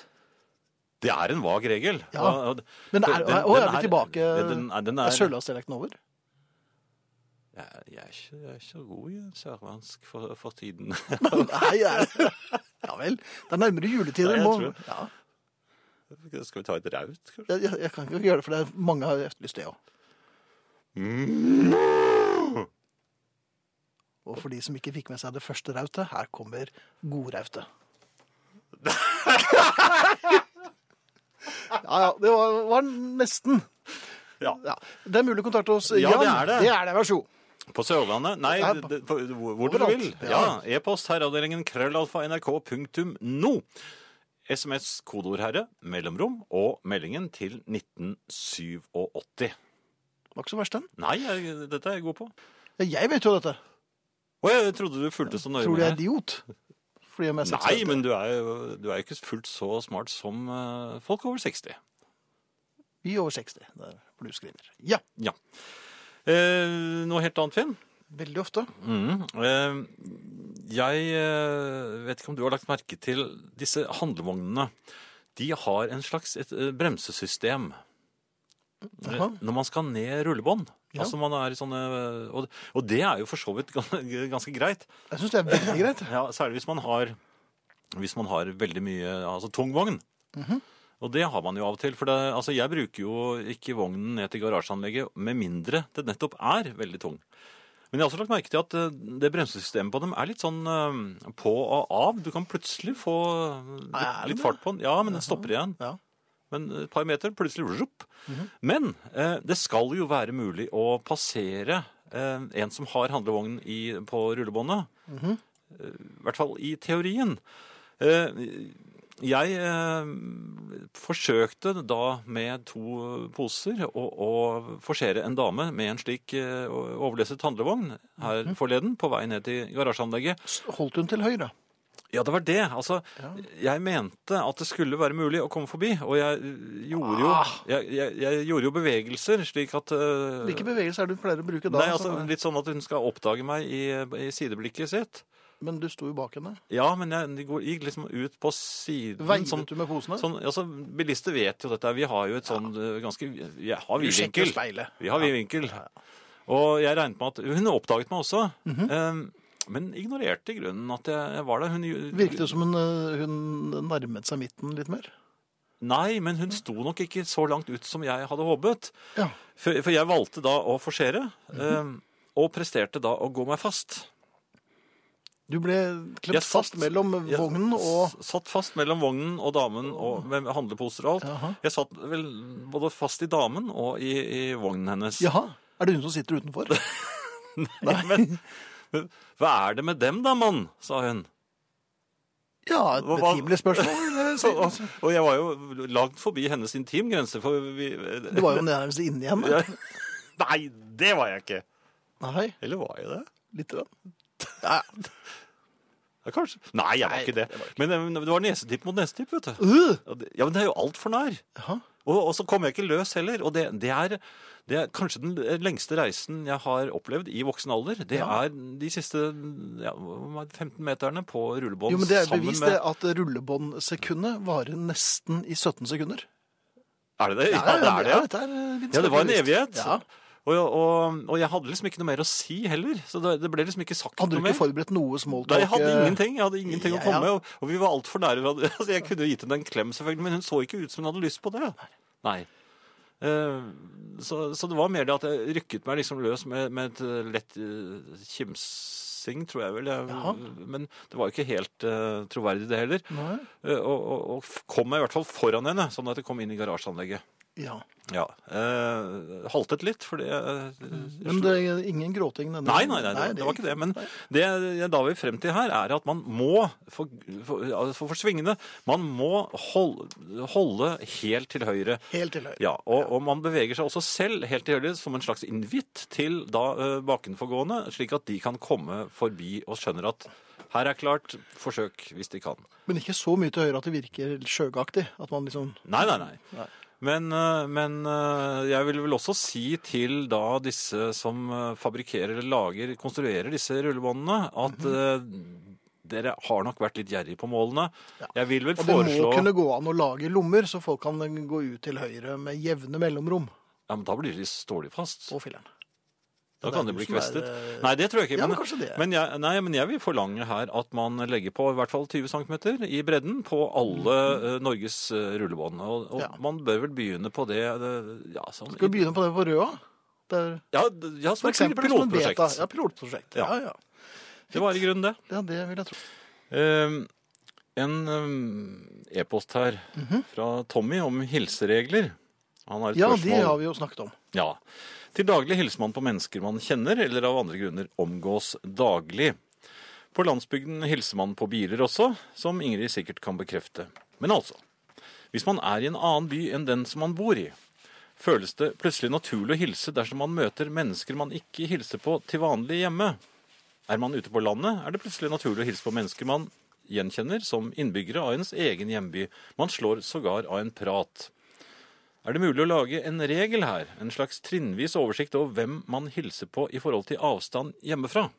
Det er en vag regel.
Ja.
Og- og-
Men er,
for den-
å,
den
er vi tilbake?
Den, den, er- den er,
Er sørlandsdialekten over?
jeg, jeg, er ikke, jeg er ikke så god i sørlandsk for, for tiden. [laughs]
Nei, ja. ja vel. Det er nærmere juletider.
Nei, jeg
må...
tror
ja.
Skal vi ta et raut, kanskje?
jeg, jeg, jeg kan ikke gjøre det, for det er mange har etterlyst det òg. Og for de som ikke fikk med seg det første rautet, her kommer
[laughs]
godrautet. Ja, ja. Det var, var nesten.
Ja.
Det er mulig å kontakte oss.
Ja, det
Jan,
er det.
Det er det, Vær så god.
På Sørlandet? Nei,
Ja,
d- d- på- hvor hvor du
overalt.
vil. Ja,
Ja.
E-post herreavdelingen krøllalfa nrk.no. SMS kodeord herre, mellomrom og meldingen til 1987.
Var ikke så verst, den.
Nei, jeg, dette er jeg god på.
Jeg vet jo dette.
Å, jeg trodde du fulgte så nøye
Tror du jeg er
med.
idiot? Fordi om jeg er
Nei,
60.
men du er jo du er jo ikke fullt så smart som eh, folk over 60.
Vi er over 60, det er hvor du skriver. Ja,
Ja. Eh, noe helt annet, Finn?
veldig ofte.
Mhm. Eh, Jeg eh, vet ikke om du har lagt merke til disse handlevognene. De har en slags et eh, bremsesystem
Jaha.
eh, når man skal ned rullebånd.
Ja.
Altså man er i sånne, eh, og, og det er jo for så vidt gan- [laughs] ganske greit.
Jeg syns det er veldig greit.
Ja, særlig hvis man har, hvis man har veldig mye altså tung vogn. Og det har man jo av og til. For det, altså jeg bruker jo ikke vognen ned til garasjeanlegget med mindre det nettopp er veldig tung. Men jeg har også lagt merke til at eh, det bremsesystemet på dem er litt sånn eh, på og av. Du kan plutselig få
Er
litt,
det
litt
det?
fart på den. Ja, men den stopper igjen.
Ja. Mhm.
Men et par meter, plutselig rup. Men eh, det skal jo være mulig å passere eh, en som har handlevogn i, på rullebåndet.
Mhm.
Eh, I hvert fall i teorien. Eh, jeg eh, forsøkte da med to poser å, å forsere en dame med en slik eh, overlesset handlevogn her forleden på vei ned til garasjeanlegget.
S- Holdt hun til høyre?
Ja, det var det. Altså, jeg mente at det skulle være mulig å komme forbi, og jeg øh, gjorde jo, jeg, jeg, jeg gjorde jo bevegelser slik at øh,
Hvilke bevegelser er det du pleier å bruke da?
Nei, altså
som-
litt sånn at hun skal oppdage meg i, i sideblikket sitt.
Men du sto jo bak henne.
Ja, men jeg de går- gikk liksom ut på siden
Veivet
sånn,
du med posene?
sånn, altså, Bilister vet jo dette. Vi har jo et sånn øh, ganske Jeg har
Du sjekker jo
vidvinkel.
speilet.
Vi har vidvinkel. Og jeg regnet med at Hun oppdaget meg også.
Mhm.
eh, men ignorerte i grunnen at jeg, jeg var der. Hun
Virket det som hun, eh, hun nærmet seg midten litt mer?
Nei, men hun sto nok ikke så langt ut som jeg hadde håpet.
Ja.
For, for jeg valgte da å forsere,
Mhm.
eh, og presterte da å gå meg fast.
Du ble klemt
Jeg satt-
fast mellom
Jeg
vognen og
s- Satt fast mellom vognen og damen og, med med handleposer og alt.
Jaha.
Jeg satt vel både fast i damen og i, i vognen hennes.
Jaha, er det hun som sitter
[laughs]
utenfor?
Men hva er det med dem da, mann? sa hun.
Ja, et
Hva- hva-
betimelig spørsmål.
[laughs] Så, altså- og, og jeg var jo langt forbi hennes intimgrense, for vi
Du
[laughs]
var jo nærmest inni henne.
Jeg- Nei, det var jeg ikke.
Nei,
Eller var jeg det?
litt. Rann.
Ja, kanskje. Nei, jeg var
Nei,
ikke det. Men, eh, det var nesetipp mot nesetipp, vet du.
Uh!
Og det- Ja, men det er jo altfor nær.
Jaha.
Og, og så kom jeg ikke løs heller. Og det, det, er, det er kanskje den lengste reisen jeg har opplevd i voksen alder. Det er de siste ja, hva var det, 15 meterne på rullebånd
Jo, men det er
sammen
bevist det
med
at rullebåndsekundet varer nesten i 17 sekunder.
Er det det? Ja, det er det. Ja.
dette er øh, litt
Ja, det var en
spesielt.
evighet.
Ja.
Og, og, og jeg hadde liksom ikke noe mer å si heller. Så det, det ble liksom ikke sagt
Hadde du
noe mer.
ikke forberedt noe eh, smalltalk?
Nei, jeg hadde ingenting. Jeg hadde ingenting å
Ja, ja.
komme med, og- og vi var altfor nære hverandre. [laughs] Altså, jeg kunne jo gitt henne en klem, selvfølgelig, men hun så ikke ut som hun hadde lyst på det. Nei. Eh, Så, så det var mer det at jeg rykket meg liksom løs med, med et eh, lett eh, kimsing, tror jeg vel. Jeg,
Jaha.
men det var jo ikke helt eh, troverdig, det heller.
Nei.
Eh, og, og, og f- kom meg i hvert fall foran henne, sånn at jeg kom inn i garasjeanlegget.
Ja.
Ja. eh, haltet litt, for det eh,
Men det er ingen gråting denne
Nei, nei, nei, det, det var ikke det. Men det jeg da vil frem til her, er at man må, for, for, ja, for, for svingene, man må holde, holde helt til høyre.
Helt til høyre.
Ja, og, og man beveger seg også selv helt til høyre som en slags invitt til da eh, bakenforgående, slik at de kan komme forbi og skjønner at her er klart, forsøk hvis de kan.
Men ikke så mye til høyre at det virker sjøgaktig. At man liksom
Nei, nei, nei.
Nei.
Men, eh, men eh, jeg vil vel også si til da disse som eh, fabrikkerer eller lager, konstruerer disse rullebåndene, at
Mhm.
eh, dere har nok vært litt gjerrig på målene. Jeg vil vel
Og det må
foreslå
kunne gå an å lage lommer, så folk kan gå ut til høyre med jevne mellomrom.
Ja, men da blir de stålig fast.
Og filleren.
Da
det er
kan de
du
bli
som er,
kvestet.
eh,
Nei, det tror jeg ikke.
Ja, men kanskje det.
Men jeg, nei, men jeg vil forlange her at man legger på i hvert fall 20 cm i bredden på alle eh, Norges eh, rullebånd. Og, og
Mhm. Ja.
man bør vel begynne på det eh, ja, som,
Skal vi begynne på det på Røa? Det er
ja, d- ja, som
for
et
eksempel som en beta.
pilotprosjekt.
Ja, pilotprosjekt. Ja, ja.
Det var i grunnen det.
Ja, det vil jeg tro.
Ehm, en ehm, e-post her fra Tommy om hilseregler. Han har et
Ja,
spørsmål.
de har vi jo snakket om.
Ja. Til daglig hilser man på mennesker man kjenner, eller av andre grunner omgås daglig. På landsbygden hilser man på biler også, som Ingrid sikkert kan bekrefte. Men altså, hvis man er i en annen by enn den som man bor i, føles det plutselig naturlig å hilse dersom man møter mennesker man ikke hilser på til vanlig hjemme. Er man ute på landet, er det plutselig naturlig å hilse på mennesker man gjenkjenner som innbyggere av ens egen hjemby. Man slår sågar av en prat. Er det mulig å lage en regel her, en slags trinnvis oversikt over hvem man hilser på i forhold til avstand hjemmefra?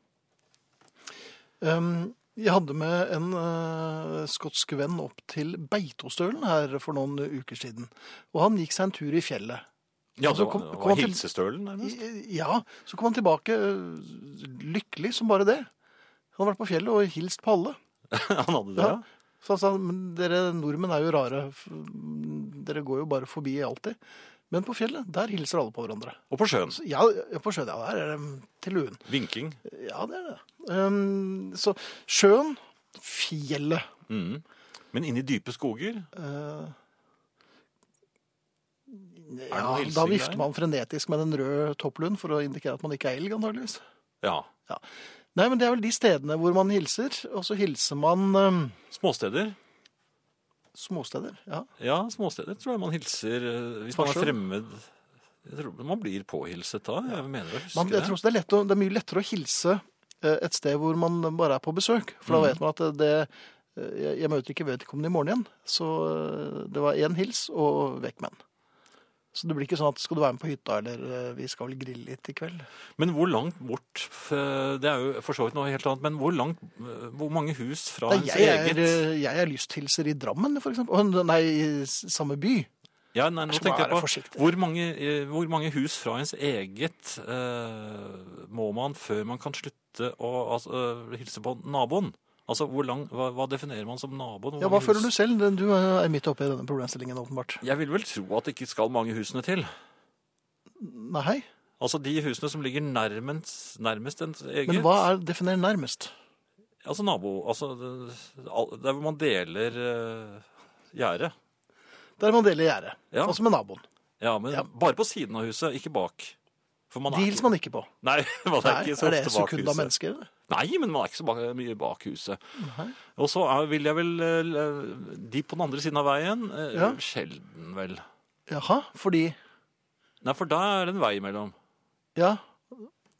Um, jeg hadde med en eh, skotsk venn opp til Beitostølen her for noen uker siden. Og han gikk seg en tur i fjellet.
Ja,
Altså,
det
kom-
var, det
kom
var
han til-
hilsestølen, nærmest.
I- Ja, så kom han tilbake eh, lykkelig som bare det. Han har vært på fjellet og hilst på alle.
Han hadde det, ja.
Så han sa, men dere nordmenn er jo rare. f- Dere går jo bare forbi alltid. Men på fjellet, der hilser alle på hverandre.
Og på sjøen.
Så ja, ja, på sjøen, ja, der er det til luen.
Vinking.
Ja, det er det. Um, så sjøen, fjellet.
Mm. Men inne i dype skoger
Eh,
det noe
ja,
hilsing
da
der?
vifter man frenetisk med den røde toppluen for å indikere at man ikke er elg, antageligvis.
Ja.
Ja. Nei, men det er vel de stedene hvor man hilser, og så hilser man eh,
Småsteder.
småsteder. Ja.
Ja, småsteder tror jeg man hilser eh, hvis man er
Forskjell.
fremmed. Jeg tror man blir påhilset da. Jeg mener å huske
Man, jeg tror
det.
også det er, lett å, det er mye lettere å hilse eh, et sted hvor man bare er på besøk, for da
Mm.
vet man at det eh, jeg- jeg møter ikke vedkommende i morgen igjen, så eh, det var én hils og vekk med den. Så det blir ikke sånn at skal du være med på hytta, eller eh, vi skal vel grille litt i kveld?
Men hvor langt bort eh, Det er jo for så vidt noe helt annet, men hvor langt eh, Hvor mange hus fra
Nei,
ens
jeg, er, eh,
eget
jeg er lysthilser i Drammen, for eksempel. Å, Nei, i s- samme by.
Ja, nei, nå
Jeg skal
tenkte jeg
være
på
forsiktig.
hvor mange, eh, hvor mange hus fra ens eget eh, må man før man kan slutte å altså, eh, hilse på naboen? Altså, hvor lang, hva, hva definerer man som naboen? Hvor
Ja, Hva
mange hus?
føler du selv? Du eh, er midt oppe i denne problemstillingen, åpenbart.
Jeg vil vel tro at det ikke skal mange husene til.
Nei,
Altså de husene som ligger nærmest, nærmest ens eget.
men hva er definer nærmest?
Altså nabo, altså det- al- der hvor man deler uh, gjerdet.
Der man deler gjerdet.
Ja.
Altså med naboen.
Ja, men
Ja.
bare på siden av huset, ikke bak. For man
De hilser man ikke på.
Nei, [laughs] man er
Nei,
ikke så
er det
ofte bak
sekund av
huset.
mennesker? eller?
Nei, men man er ikke så bak, mye bak huset. Og så er, vil jeg vel eh, De på den andre siden av veien eh,
Ja.
Sjelden, vel.
Jaha, fordi
Nei, for da er det en vei imellom.
Ja.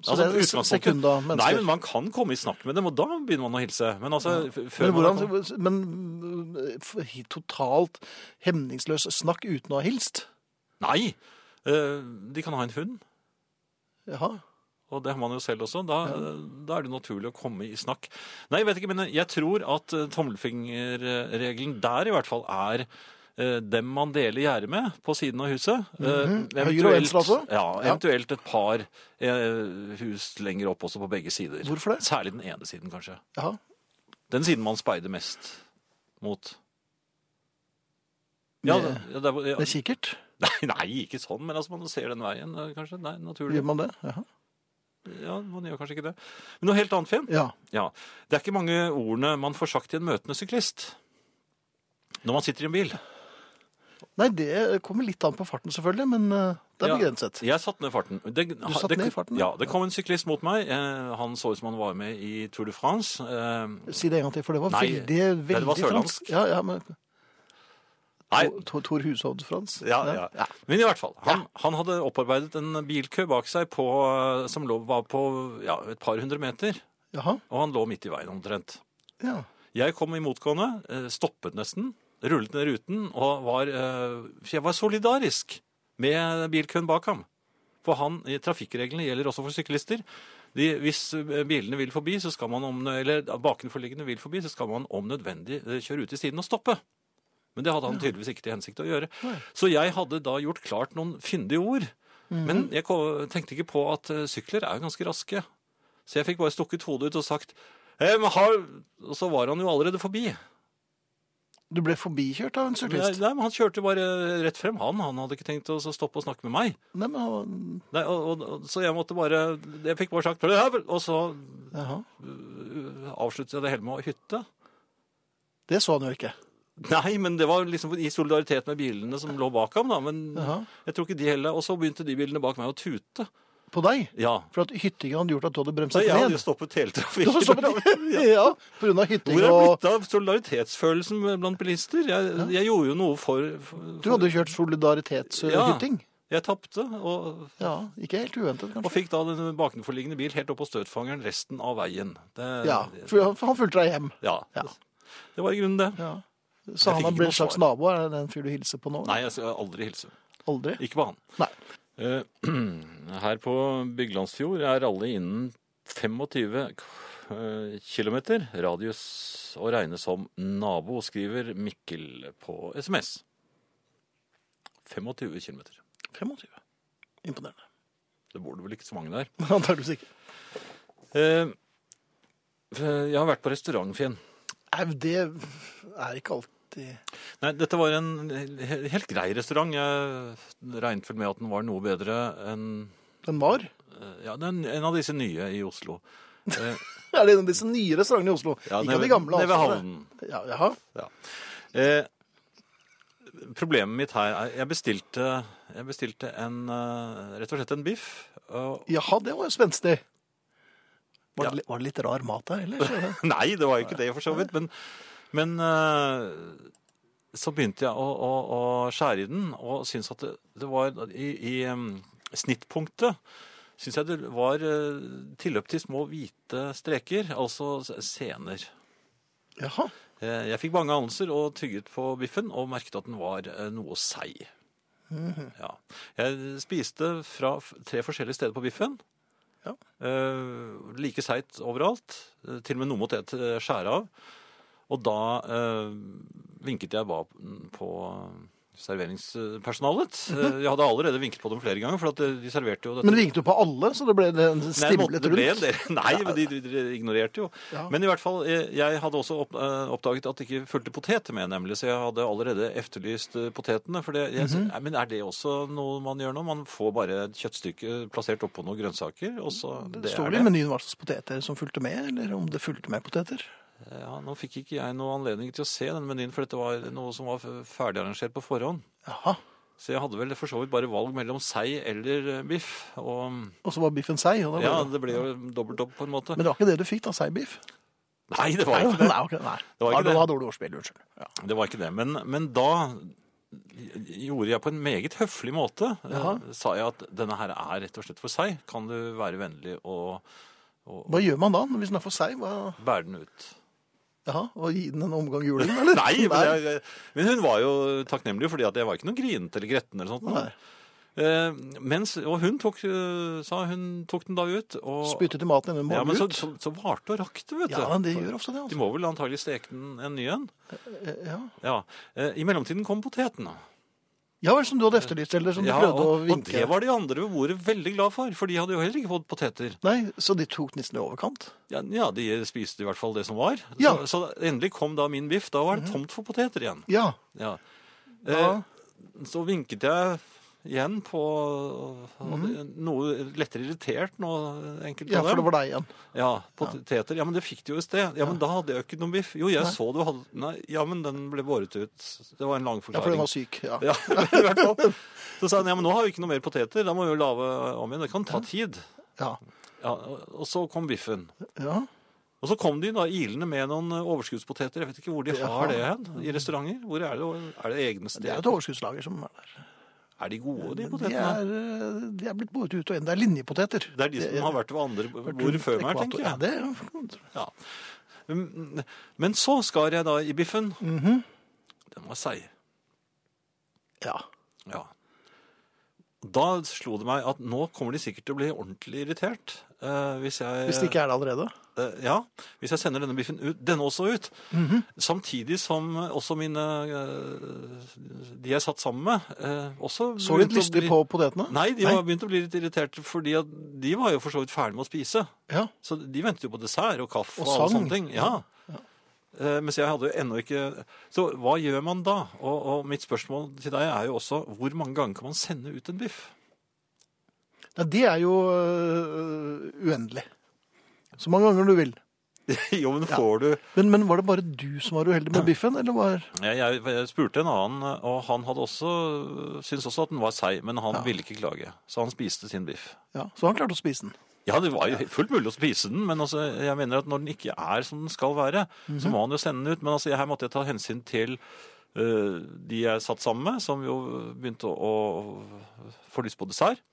Så
Altså,
det er
utgangspunktet-
sekund av
Nei, men
mennesker.
man kan komme i snakk med dem, og da begynner man å hilse. Men altså, f- før
Men,
man har kommet-
hvordan, men øh, f- totalt hemningsløs snakk uten å ha hilst?
Nei! Eh, De kan ha en hund,
Jaha.
og det har man jo selv også. Da, eh, da er det naturlig å komme i snakk. Nei, jeg vet ikke, men jeg tror at eh, tommelfingerregelen der i hvert fall er eh, dem man deler gjerdet med på siden av huset. Eh,
Høyre og venstre altså?
Ja,
Ja.
eventuelt et par eh, hus lenger opp også på begge sider.
Hvorfor det?
Særlig den ene siden, kanskje.
Jaha.
Den siden man speider mest mot. Ja,
Med-
ja, der hvor- ja.
Med kikkert?
[laughs] Nei, nei, ikke sånn, men altså man ser den veien, eh, kanskje. Nei, naturlig.
Gjør man det? Jaha.
Ja, man gjør kanskje ikke det. Men noe helt annet, Finn.
Ja.
Ja. Det er ikke mange ordene man får sagt til en møtende syklist når man sitter i en bil.
Nei, det kommer litt an på farten selvfølgelig, men eh, det er
Ja.
begrenset.
Jeg satte ned farten. Det, du
satte ned farten, ja.
Ja, det kom en syklist mot meg. Eh, han så ut som han var med i Tour de France. Eh,
Si det en gang til, for det var
Nei,
veldig, veldig
det var sørlandsk.
fransk. Ja, ja, men
nei,
Tor, Tor Hushovd-Frans.
ja, ja. Men i hvert fall, han, han hadde opparbeidet en bilkø bak seg på, eh, som lå, var på ja, et par hundre meter,
Jaha,
og han lå midt i veien omtrent.
ja.
Jeg kom imotgående, eh, stoppet nesten, rullet ned ruten, og var, eh, for jeg var solidarisk med bilkøen bak ham. For han, i trafikkreglene gjelder også for syklister. De, hvis eh, bilene vil forbi, så skal man om, eller bakenforliggende vil forbi, så skal man om nødvendig eh, kjøre ut i siden og stoppe. Men det hadde han tydeligvis ikke til hensikt å gjøre. Så jeg hadde da gjort klart noen fyndige ord. Men jeg ko- tenkte ikke på at eh, sykler er jo ganske raske. Så jeg fikk bare stukket hodet ut og sagt «Em, Eh, har... Og så var han jo allerede forbi.
Du ble forbikjørt av en
Men jeg-
syklist?
Nei, men Han kjørte bare rett frem, han. Han hadde ikke tenkt å så stoppe og snakke med meg.
Nei, men han-
Nei, og, og, så jeg måtte bare Jeg fikk bare sagt «Ja vel», Og så
Jaha.
avsluttet jeg det hele med å hytte.
Det så han jo ikke.
Nei, men det var liksom i solidaritet med bilene som lå bak ham, da. Men
Jaha.
jeg tror ikke de heller. Og så begynte de bilene bak meg å tute.
På deg?
Ja.
For at hyttingen hadde gjort at du hadde
Så
bremset
jeg hadde
ned?
jo stoppet hele
Du hadde
trafikken. [laughs]
stoppet- ja, på grunn av hytting
Hvor er det
og
blitt av solidaritetsfølelsen blant bilister? Jeg, jeg gjorde jo noe for, for,
Du hadde jo kjørt solidaritetshytting.
Jeg tapte, og,
Ja, ikke helt uventet,
og
kanskje.
fikk da den bakenforliggende bil helt opp på støtfangeren resten av veien. Det,
Ja, for han- for han fulgte deg hjem.
ja.
Ja.
Det var i grunnen det.
Ja. Så
Jeg fikk
han har
ikke
blitt en
noe
slags
svar.
nabo? Er det den fyr du hilser på nå?
Nei, jeg skal aldri hilse.
Aldri?
Ikke på han.
Nei.
Eh, [clears throat] Her på Byglandsfjord er alle innen 25 km radius å regne som nabo, skriver Mikkel på SMS. 25 km.
25. Imponerende. [laughs]
Det bor det vel ikke så mange der.
Antakeligvis ikke.
Eh, Jeg har vært på restaurant, Finn.
Nei, det er ikke alltid
Nei, dette var en he- helt grei restaurant. Jeg regnet vel med at den var noe bedre enn
Den var.
eh, ja, den, en av disse nye i Oslo. Eh,
[laughs] Er det en av disse nye restaurantene i Oslo? ikke
ja,
av
nede-
de gamle.
nede ved
altså.
havnen.
Ja, jaha.
Eh, problemet mitt her er Jeg bestilte, jeg bestilte en, eh, rett og slett en biff. Og,
jaha, det var jo spenstig. Var,
Ja.
det, li- var det litt rar mat der, eller?
[laughs] nei, det var jo ikke det, for så vidt. Men, men eh, så begynte jeg å, å, å skjære i den, og syntes at det, det var I, i em, snittpunktet syns jeg det var eh, tilløp til små hvite streker, altså s- sener.
[laughs] jaha.
Eh, Jeg fikk mange anelser og tygget på biffen og merket at den var eh, noe seig.
Mhm.
ja. Jeg spiste fra f- tre forskjellige steder på biffen.
Ja.
Eh, like seigt overalt. Eh, Til og med noe måtte jeg t- skjære av. Og da eh, vinket jeg bare p- på eh, serveringspersonalet. Eh, Jeg hadde allerede vinket på dem flere ganger, for at eh, de serverte jo dette
Mhm. Men vinket du på alle, så det ble en
Nei, måtte,
stimlet
det ble en
rundt?
del. [laughs] Nei, men de, de, de ignorerte jo.
Ja.
Men i hvert fall, eh, jeg hadde også opp, eh, oppdaget at det ikke fulgte potet med, nemlig, så jeg hadde allerede efterlyst eh, potetene. For det, jeg,
Mhm.
nei, Men er det også noe man gjør nå? Man får bare et kjøttstykke plassert oppå noen grønnsaker, og så
Mm, Det
det
Står
er
det i
det.
menyen hva slags poteter som fulgte med, eller om det fulgte med poteter?
Ja, nå fikk ikke jeg noe anledning til å se den menyen, for dette var noe som var f- ferdigarrangert på forhånd.
Jaha.
Så jeg hadde vel for så vidt bare valg mellom sei eller eh, biff, og
Og så var biffen seig. og det var-
ja, det ble jo dobbelt opp på en måte.
Men det var ikke det du fikk, da? Seigbiff?
Nei, det var ikke det.
Nei, ok, nei.
Det var
Ja,
ikke det.
det var dårlig ordspill. Unnskyld. Ja.
Det var ikke det. Men, men da gjorde jeg på en meget høflig måte. eh,
Jaha.
Sa jeg at denne her er rett og slett for seg. Kan du være vennlig og, og
Hva gjør man da hvis den er for seig? Hva-
bære den ut?
Jaha, og gi den en omgang juling, eller?
Nei, men, jeg, jeg- men hun var jo takknemlig, fordi at jeg var ikke noe grinete eller gretten. eller sånt.
Nei.
Eh, mens, og hun tok, eh, sa hun tok den da ut. Og,
Spyttet i maten innen den
ja,
var
men så,
ut?
så, så varte og rakk det, vet du.
Ja, men det gjør ofte det.
De
altså.
må vel antagelig steke den en ny en.
Ja,
Ja. Eh, I mellomtiden kom potetene.
ja vel, som du hadde efterlyst, eller som du prøvde å
og, og
vinke.
det var de andre ved bordet veldig glad for, for de hadde jo heller ikke fått poteter.
Nei, Så de tok nissen i overkant?
Ja, ja de spiste i hvert fall det som var.
Ja.
Så, så endelig kom da min biff. Da var det tomt for poteter igjen.
Ja.
Ja.
Da-
Eh, så vinket jeg igjen på og det- noe lettere irritert nå, enkelte
Mhm. ja,
av
for det
dem.
var deg igjen.
Ja, poteter. Ja, men det fikk de jo i sted. Ja, men da hadde jeg jo ikke noen biff. Jo, jeg så du hadde Nei, ja, men den ble båret ut. Det var en lang
Ja, for den
forklaring.
var syk. Ja.
[laughs] Ja, i hvert fall. Så sa han, ja, men nå har vi ikke noe mer poteter, da må vi jo lave om igjen. Det kan ta tid.
Ja.
Ja, og- og så kom biffen.
ja.
Og så kom de da ilende med noen overskuddspoteter. Jeg vet ikke hvor de har
Jaha.
det hen, i restauranter. Hvor er det, er det egne
Det er
steder?
et overskuddslager som er der.
Er de gode, de
De
potetene?
er, eh, de er blitt båret ut og inn. Det er linjepoteter.
Det er de som har vært ved andre bord før meg, tenker
Ja,
jeg.
det er
Ja. Mm, Men så skar jeg da i biffen.
Mhm.
Den var seig.
Ja.
Ja. Da slo det meg at nå kommer de sikkert til å bli ordentlig irritert. eh, hvis jeg,
Hvis det ikke er det allerede.
Eh, ja, hvis jeg sender denne biffen ut, denne også ut,
Mhm.
samtidig som også mine, eh, de jeg satt sammen med, eh, også
Så litt
begynte å
lystig
bli-
på potetene?
Nei, de var begynt å bli litt irriterte, fordi at de var jo for så vidt ferdig med å spise.
Ja.
Så de ventet jo på dessert og kaffe
Og
og, alle
sang.
sånne ting. Ja. Eh, Mens jeg hadde jo ennå ikke Så hva gjør man da? Og, og mitt spørsmål til deg er jo også hvor mange ganger kan man sende ut en biff? [laughs]
eh, Nei, det er jo øh, uendelig. Så mange ganger du vil.
jo, men får du
Men, men var det bare du som var uheldig med biffen, eller var
jeg, jeg, jeg spurte en annen, og han hadde også, syntes også at den var seig, men han ville ikke klage. Så han spiste sin biff.
Ja, så han klarte å spise den.
Ja, det var jo fullt mulig å spise den, men altså, jeg mener at når den ikke er som den skal være, så må han jo sende den ut. Men altså, her måtte jeg ta hensyn til eh, de jeg satt sammen med, som jo begynte å, å få lyst på dessert.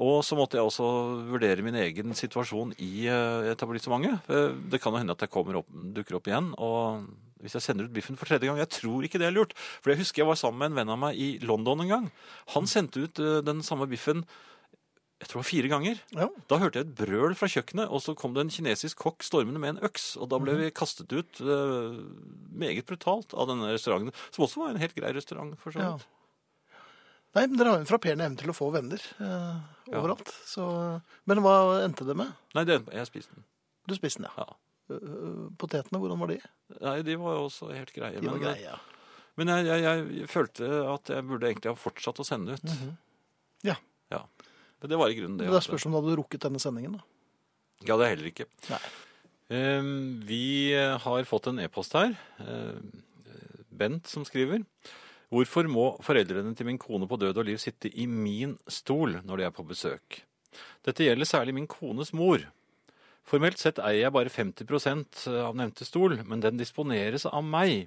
Og så måtte jeg også vurdere min egen situasjon i eh, etablissementet. Eh, det kan jo hende at jeg kommer opp, dukker opp igjen, og hvis jeg sender ut biffen for tredje gang, jeg tror ikke det er lurt. For jeg husker jeg var sammen med en venn av meg i London en gang. Han sendte ut eh, den samme biffen, jeg tror det var fire ganger.
Ja.
Da hørte jeg et brøl fra kjøkkenet, og så kom det en kinesisk kokk stormende med en øks. Og da ble
Mhm.
vi kastet ut eh, meget brutalt av denne restauranten, som også var en helt grei restaurant. for så
Ja.
vidt.
Nei, men dere har jo en frapperende evne til å få venner eh, overalt. Så, men hva endte det med?
Nei, det, jeg spiste den.
Du spiste den, ja.
Ja.
Eh, Potetene, hvordan var de?
Nei, de var jo også helt greie.
De var
men eh,
greie. ja.
men jeg, jeg, jeg følte at jeg burde egentlig ha fortsatt å sende ut.
Mhm. Ja.
Ja. Men det var i grunnen det.
Men det
altså.
spørs om du hadde rukket denne sendingen, da.
Ja, det er heller ikke.
Nei.
Eh, Vi eh, har fått en e-post her. eh, Bent som skriver. Hvorfor må foreldrene til min kone på død og liv sitte i min stol når de er på besøk? Dette gjelder særlig min kones mor. Formelt sett eier jeg bare 50 av nevnte stol, men den disponeres av meg.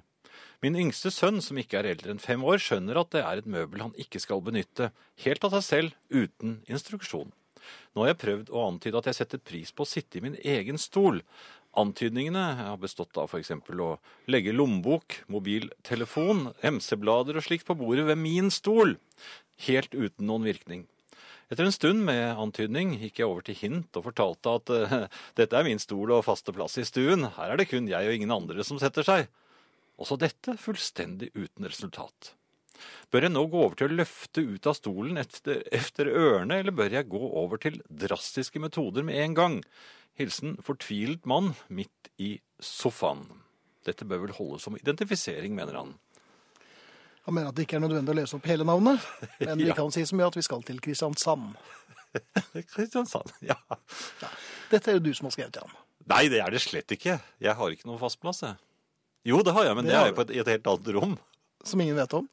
Min yngste sønn, som ikke er eldre enn fem år, skjønner at det er et møbel han ikke skal benytte, helt av seg selv, uten instruksjon. Nå har jeg prøvd å antyde at jeg setter pris på å sitte i min egen stol. Antydningene har bestått av f.eks. å legge lommebok, mobiltelefon, MC-blader og slikt på bordet ved min stol, helt uten noen virkning. Etter en stund med antydning gikk jeg over til hint og fortalte at eh, dette er min stol og faste plass i stuen, her er det kun jeg og ingen andre som setter seg. Også dette fullstendig uten resultat. Bør jeg nå gå over til å løfte ut av stolen efter, efter ørene, eller bør jeg gå over til drastiske metoder med en gang? Hilsen fortvilet mann midt i sofaen. Dette bør vel holde som identifisering, mener han.
Han mener at det ikke er nødvendig å lese opp hele navnet, men vi
[laughs] Ja.
kan si så mye at vi skal til Kristiansand.
Kristiansand, [laughs] ja.
Dette er jo du som har skrevet til ham.
Nei, det er det slett ikke. Jeg har ikke noen fast plass, jeg. Jo, det har jeg, men
Det
det,
har
er jo på et, i et helt annet rom.
Som ingen vet om.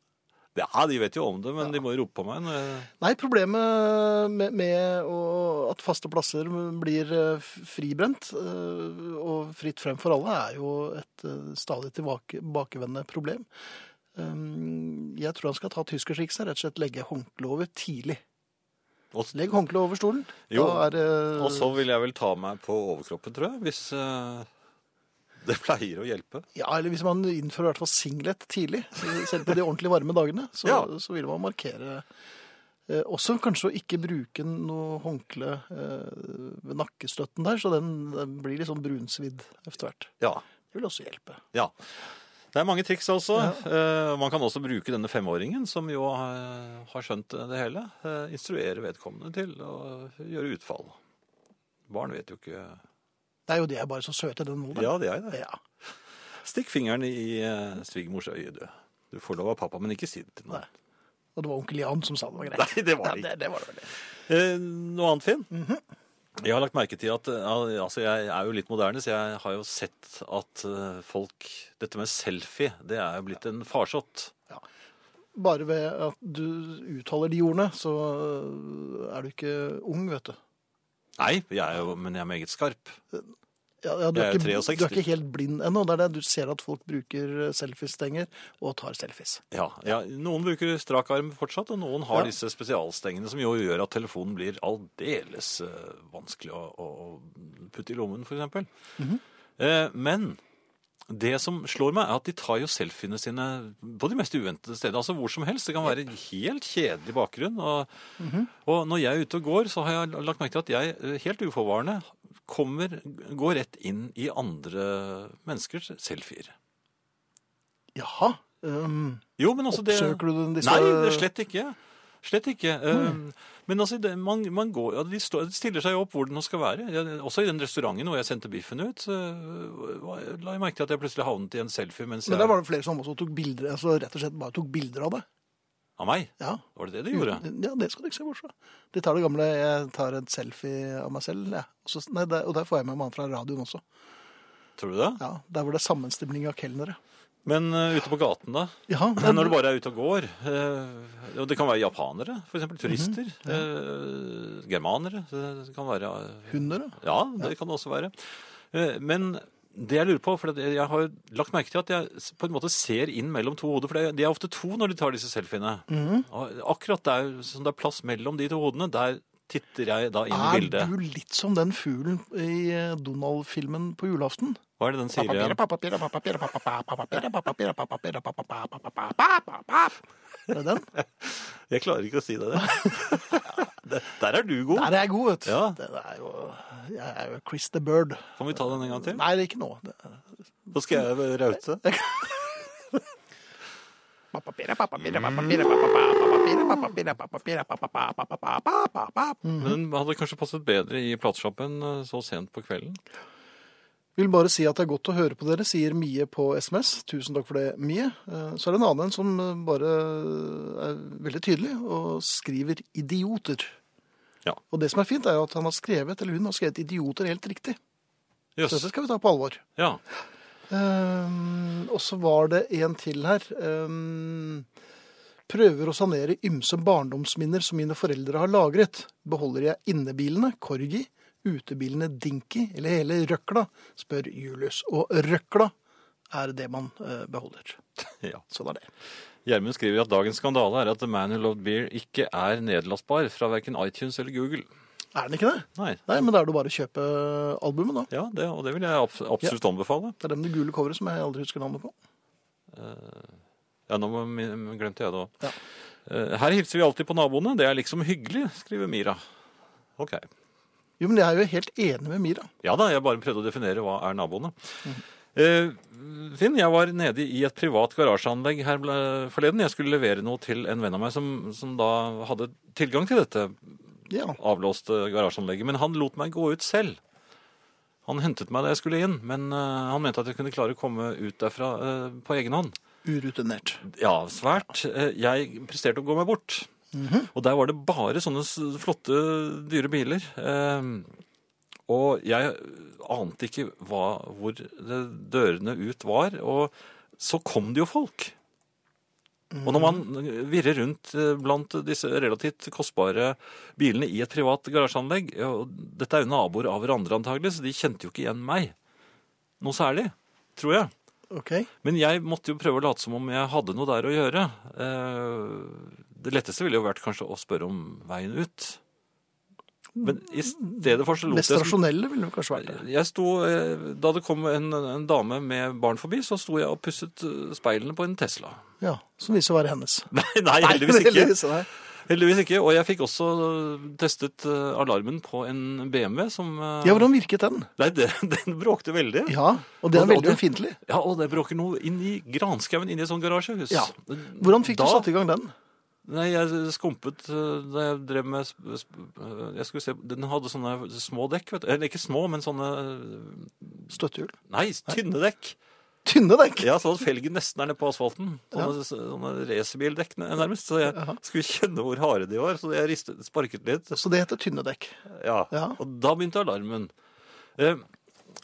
Ja, de vet jo om det, men eh, de må jo rope på meg. Når jeg...
Nei, problemet med, med å, at faste plasser blir eh, f- fribrent eh, og fritt frem for alle, er jo et eh, stadig tilbakevendende problem. Um, Jeg tror han skal ta tyskertrikset, rett og slett legge håndkleet over tidlig.
Og,
Legg håndkleet over stolen.
Jo,
da er, det-
og så vil jeg vel ta meg på overkroppen, tror jeg, hvis eh, det pleier å hjelpe.
Ja, eller hvis man innfører i hvert fall singlet tidlig, selv på de ordentlig varme dagene, så,
Ja.
så vil man markere eh, også kanskje å ikke bruke noe håndkle eh, ved nakkestøtten der, så den, den blir litt sånn brunsvidd etter hvert.
Ja.
Det vil også hjelpe.
Ja. Det er mange triks altså. Eh, man kan også bruke denne femåringen, som jo eh, har skjønt det hele, eh, instruere vedkommende til å gjøre utfall. Barn vet jo ikke
Nei, jo, de er bare så søte, den nå.
Ja, det er det.
Ja.
Stikk fingeren i eh, svigermors øye, du. Du får lov av pappa, men ikke si det til noen.
Og det var onkel Jan som sa det var greit.
Nei, det var det
Nei,
Mhm. ikke.
det, det var det vel.
Eh, noe annet, Finn? Jeg har lagt merke til at eh, altså Jeg er jo litt moderne, så jeg har jo sett at eh, folk Dette med selfie, det er jo blitt en farsott.
Bare ved at du uttaler de ordene, så eh, er du ikke ung, vet du.
Nei, jeg er jo, men jeg er meget skarp.
Ja, ja, du, er
Jeg er
ikke,
63.
du er ikke helt blind ennå. Det er det du ser at folk bruker selfiestenger og tar selfies.
Ja, ja, noen bruker strak arm fortsatt, og noen har
Ja.
disse spesialstengene som jo gjør at telefonen blir aldeles eh, vanskelig å, å- å putte i lommen, for eksempel. eh, men det som slår meg er at de tar jo selfiene sine på de mest uventede steder, altså hvor som helst. Det kan være en helt kjedelig bakgrunn. Og, og når jeg er ute og går, så har jeg lagt merke til at jeg eh, helt uforvarende kommer, går rett inn i andre menneskers selfier.
Jaha. Um,
Jo, men altså det...
Oppsøker du den- disse-
Nei, det er slett ikke. Slett ikke. Eh, Men altså, det, man, man går, ja, de står, de stiller seg opp hvor den skal være. Jeg, også i den restauranten hvor jeg sendte biffen ut, så, eh, var- la jeg merke til at jeg plutselig havnet i en selfie mens jeg...
men der var det flere som også tok bilder, altså rett og slett bare tok bilder av det.
Av meg?
Ja. Mm.
Var det det de gjorde?
ja, det skal du ikke se bort fra. De tar det gamle 'jeg tar en selfie av meg selv', jeg. Og så- Nei, der, og der får jeg med meg han fra radioen også.
Tror du det?
Ja, Der hvor det er sammenstimling av kelnere.
Men eh, ute på gaten, da?
Ja,
Men
men,
når du bare er ute og går eh, Og det kan være japanere, f.eks. Turister.
Mm-hmm.
eh, germanere. Det kan være eh,
hunder, ja.
Ja, det kan det også være. Eh, Men det jeg lurer på, for det- jeg har lagt merke til at jeg s- på en måte ser inn mellom to hoder, for det- de er ofte to når de tar disse selfiene.
Mhm.
Og Akkurat der som det er plass mellom de to hodene, der titter jeg da inn i
Er
bildet.
Ah, du litt som den fuglen i eh, Donald-filmen på julaften?
Hva er det den sier igjen?
Er det den?
Jeg klarer ikke å si
[laughs]
det. det der er du god.
Der er jeg god, vet du.
Ja.
Det er jo, jeg er jo Chris the Bird.
Kan vi ta den en gang til?
Nei, det er ikke nå. Det er-
Da skal jeg
[laughs]
raute.
Mhm.
Men den hadde kanskje passet bedre i platesjappen eh, så sent på kvelden.
Vil bare si at det er godt å høre på dere, sier Mie på SMS. Tusen takk for det, Mie. Eh, Så er det en annen en som eh, bare eh, er veldig tydelig og skriver 'idioter'.
Ja.
Og det som er fint, er jo at han har skrevet, eller hun har skrevet 'idioter' helt riktig. Så
Jøss.
dette skal vi ta på alvor.
Ja.
Ehm, og så var det en til her. Ehm, prøver å sanere ymse barndomsminner som mine foreldre har lagret. Beholder jeg innebilene, Corgi, utebilene Dinky eller hele røkla? Spør Julius. Og røkla er det man eh, beholder.
ja.
Sånn er det.
Gjermund skriver at dagens skandale er at The Man Who Loved Beer ikke er nedlastbar fra verken iTunes eller Google.
Er den ikke det?
Nei.
Nei, men da er det bare å kjøpe albumet, da.
Ja, det, og det vil jeg abs- absolutt anbefale.
Det er den med det gule coveret som jeg aldri husker navnet på.
Ja, nå må min- glemte jeg det òg.
Ja.
Her hilser vi alltid på naboene. Det er liksom hyggelig, skriver Mira. Ok.
Jo, men jeg er jo helt enig med Mira.
Ja da, jeg bare prøvde å definere hva er naboene. Eh, Finn, jeg var nede i et privat garasjeanlegg her ble- forleden. Jeg skulle levere noe til en venn av meg som, som da hadde tilgang til dette
Ja.
avlåste garasjeanlegget, men han lot meg gå ut selv. Han hentet meg da jeg skulle inn, men eh, han mente at jeg kunne klare å komme ut derfra eh, på egen hånd.
Urutinert.
Ja, svært. Eh, jeg presterte å gå meg bort. Og der var det bare sånne s- flotte, dyre biler. Eh, og jeg ante ikke hva, hvor det- dørene ut var, og så kom det jo folk. Og når man virrer rundt eh, blant disse relativt kostbare bilene i et privat garasjeanlegg ja, og Dette er jo naboer av hverandre, antagelig, så de kjente jo ikke igjen meg noe særlig, tror jeg.
OK.
Men jeg måtte jo prøve å late som om jeg hadde noe der å gjøre. Eh, Det letteste ville jo vært kanskje å spørre om veien ut. Men i stedet for så lot
Mest
jeg som
rasjonelle ville det kanskje vært. det.
jeg sto, eh, Da det kom en, en dame med barn forbi, så sto jeg og pusset eh, speilene på en Tesla. [laughs]
Ja, Som viser å være hennes.
Nei, nei heldigvis ikke.
Heldigvis, nei.
Heldigvis ikke. Og jeg fikk også eh, testet eh, alarmen på en BMW som eh,
Ja, hvordan virket den?
Nei, den, [laughs] den bråkte veldig.
Ja, og det er
Og- og
veldig
det-
ømfintlig.
Ja, og det bråker noe inn i granskauen, inn i et sånt garasjehus.
Ja. Hvordan fikk
Da-
du satt i gang den?
Nei, jeg skumpet øh, da jeg drev med sp- sp- øh, Jeg skulle se Den hadde sånne små dekk, vet du. Eller ikke små, men sånne øh,
Støttehjul?
Nei, tynne dekk.
Tynne dekk!
Ja, sånn at felgen nesten er nede på asfalten. Sånne, sånne racerbildekk n- nærmest. Så jeg skulle kjenne hvor harde de var, så jeg ristet, sparket litt.
Så det heter tynne dekk.
Ja.
Ja.
Og da begynte alarmen. Eh,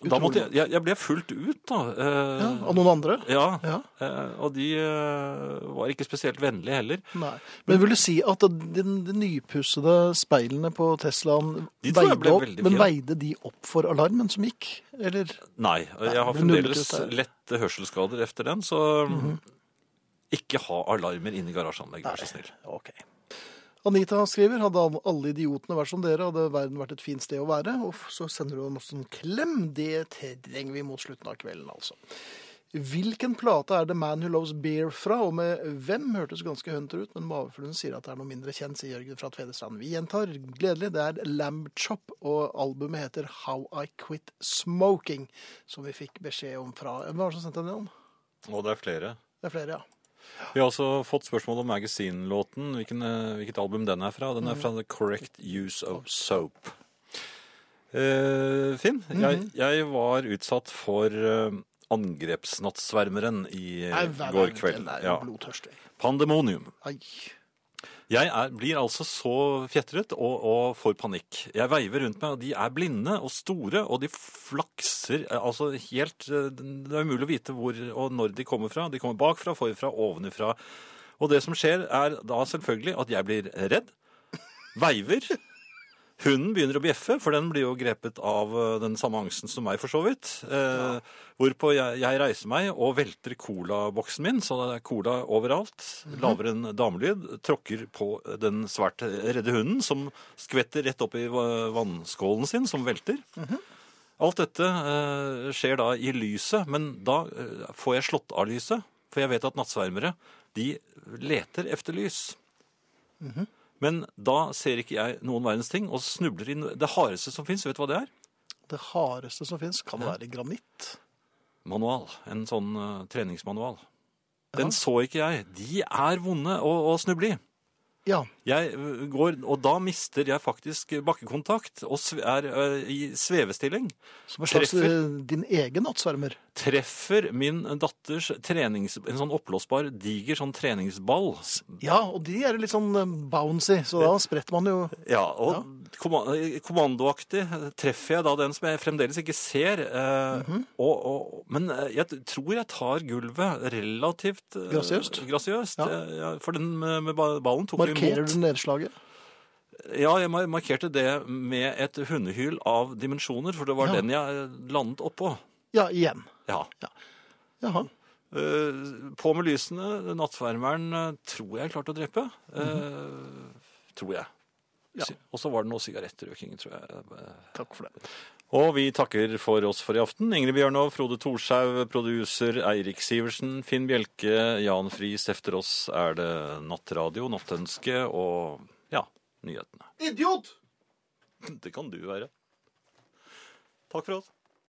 da måtte jeg, jeg Jeg ble fulgt ut, da. Eh,
Ja, og noen andre?
ja.
Ja.
Eh, og de eh, var ikke spesielt vennlige heller.
Nei. Men vil du si at de, de nypussede speilene på Teslaen
De tror jeg
veide
ble
opp,
veldig
men
fine.
veide de opp for alarmen som gikk? Eller
Nei, jeg har
det blir nullet Mhm.
fremdeles
ut der.
lette hørselsskader efter den, så ikke ha alarmer inne i garasjeanlegg, vær så snill.
OK. Anita skriver hadde alle idiotene vært som dere, hadde verden vært et fint sted å være. Og så sender hun oss en sånn klem. Det trenger vi mot slutten av kvelden, altså. Hvilken plate er The Man Who Loves Beer fra, og med hvem hørtes ganske hunter ut, men Mavefluen sier at det er noe mindre kjent, sier Jørgen fra Tvedestrand. Vi gjentar gledelig, det er Lamb Chop, og albumet heter How I Quit Smoking, som vi fikk beskjed om fra Hvem var det som sendte den? igjen?
Og det er flere.
Det er flere, ja.
Vi har også fått spørsmål om Magazine-låten, hvilken, eh, hvilket album den er fra.
Mhm.
Den er fra The Correct Use of Soap. Eh, Finn,
Mhm.
jeg, jeg var utsatt for eh, angrepsnattsvermeren i eh,
Nei, hver-
går
den
kveld.
er jo
Ja.
blodtørstig.
Pandemonium.
Ai.
Jeg er, blir altså så fjetret og, og får panikk. Jeg veiver rundt meg, og de er blinde og store, og de flakser eh, altså helt eh, Det er umulig å vite hvor og når de kommer fra. De kommer bakfra, forfra, ovenifra. Og det som skjer, er da selvfølgelig at jeg blir redd, veiver. Hunden begynner å bjeffe, for den blir jo grepet av eh, den samme angsten som meg, for så vidt. Eh, Hvorpå jeg, jeg reiser meg og velter colaboksen min, så det er cola overalt. Lager en damelyd, tråkker på den svært redde hunden, som skvetter rett opp i va- vannskålen sin, som velter. Alt dette eh, skjer da i lyset, men da eh, får jeg slått av lyset. For jeg vet at nattsvermere, de leter efter lys. Men da ser ikke jeg noen verdens ting, og snubler inn det hardeste som fins. Vet du hva det er?
Det hardeste som finnes kan være granitt.
Manual. En sånn eh, treningsmanual. Den så ikke jeg. De er vonde å, å snuble i.
Ja,
Jeg ø, går, og da mister jeg faktisk bakkekontakt og sve- er ø, i svevestilling.
som en slags
Treffer.
eh, din egen nattsvermer.
Treffer min datters trenings... En sånn oppblåsbar, diger sånn treningsball.
Ja, og de er litt sånn eh, bouncy, så da spretter man jo
Ja, og komma- eh, kommandoaktig treffer jeg da den som jeg fremdeles ikke ser. eh,
Mhm.
og, og, men eh, jeg t- tror jeg tar gulvet relativt eh,
Grasiøst?
grasiøst,
Ja.
eh, ja, for den med, med ba- ballen tok jo
Markerer
imot.
du nedslaget?
Ja, jeg mar- markerte det med et hundehyl av dimensjoner, for det var
Ja.
den jeg eh, landet oppå.
Ja, igjen.
Ja.
Jaha.
Eh, på med lysene. Nattsvermeren eh, tror jeg klarte å drepe. Eh, Tror jeg.
Mhm. Ja.
Si- Og så var det noe sigarettrøking, tror jeg. eh,
Takk for det.
Og vi takker for oss for i aften. Ingrid Bjørnov, Frode Thorshaug, produser Eirik Sivertsen, Finn Bjelke, Jan Friis. Efter oss er det Nattradio, Nattønske og ja, nyhetene.
Idiot!
Det kan du være. Takk for oss.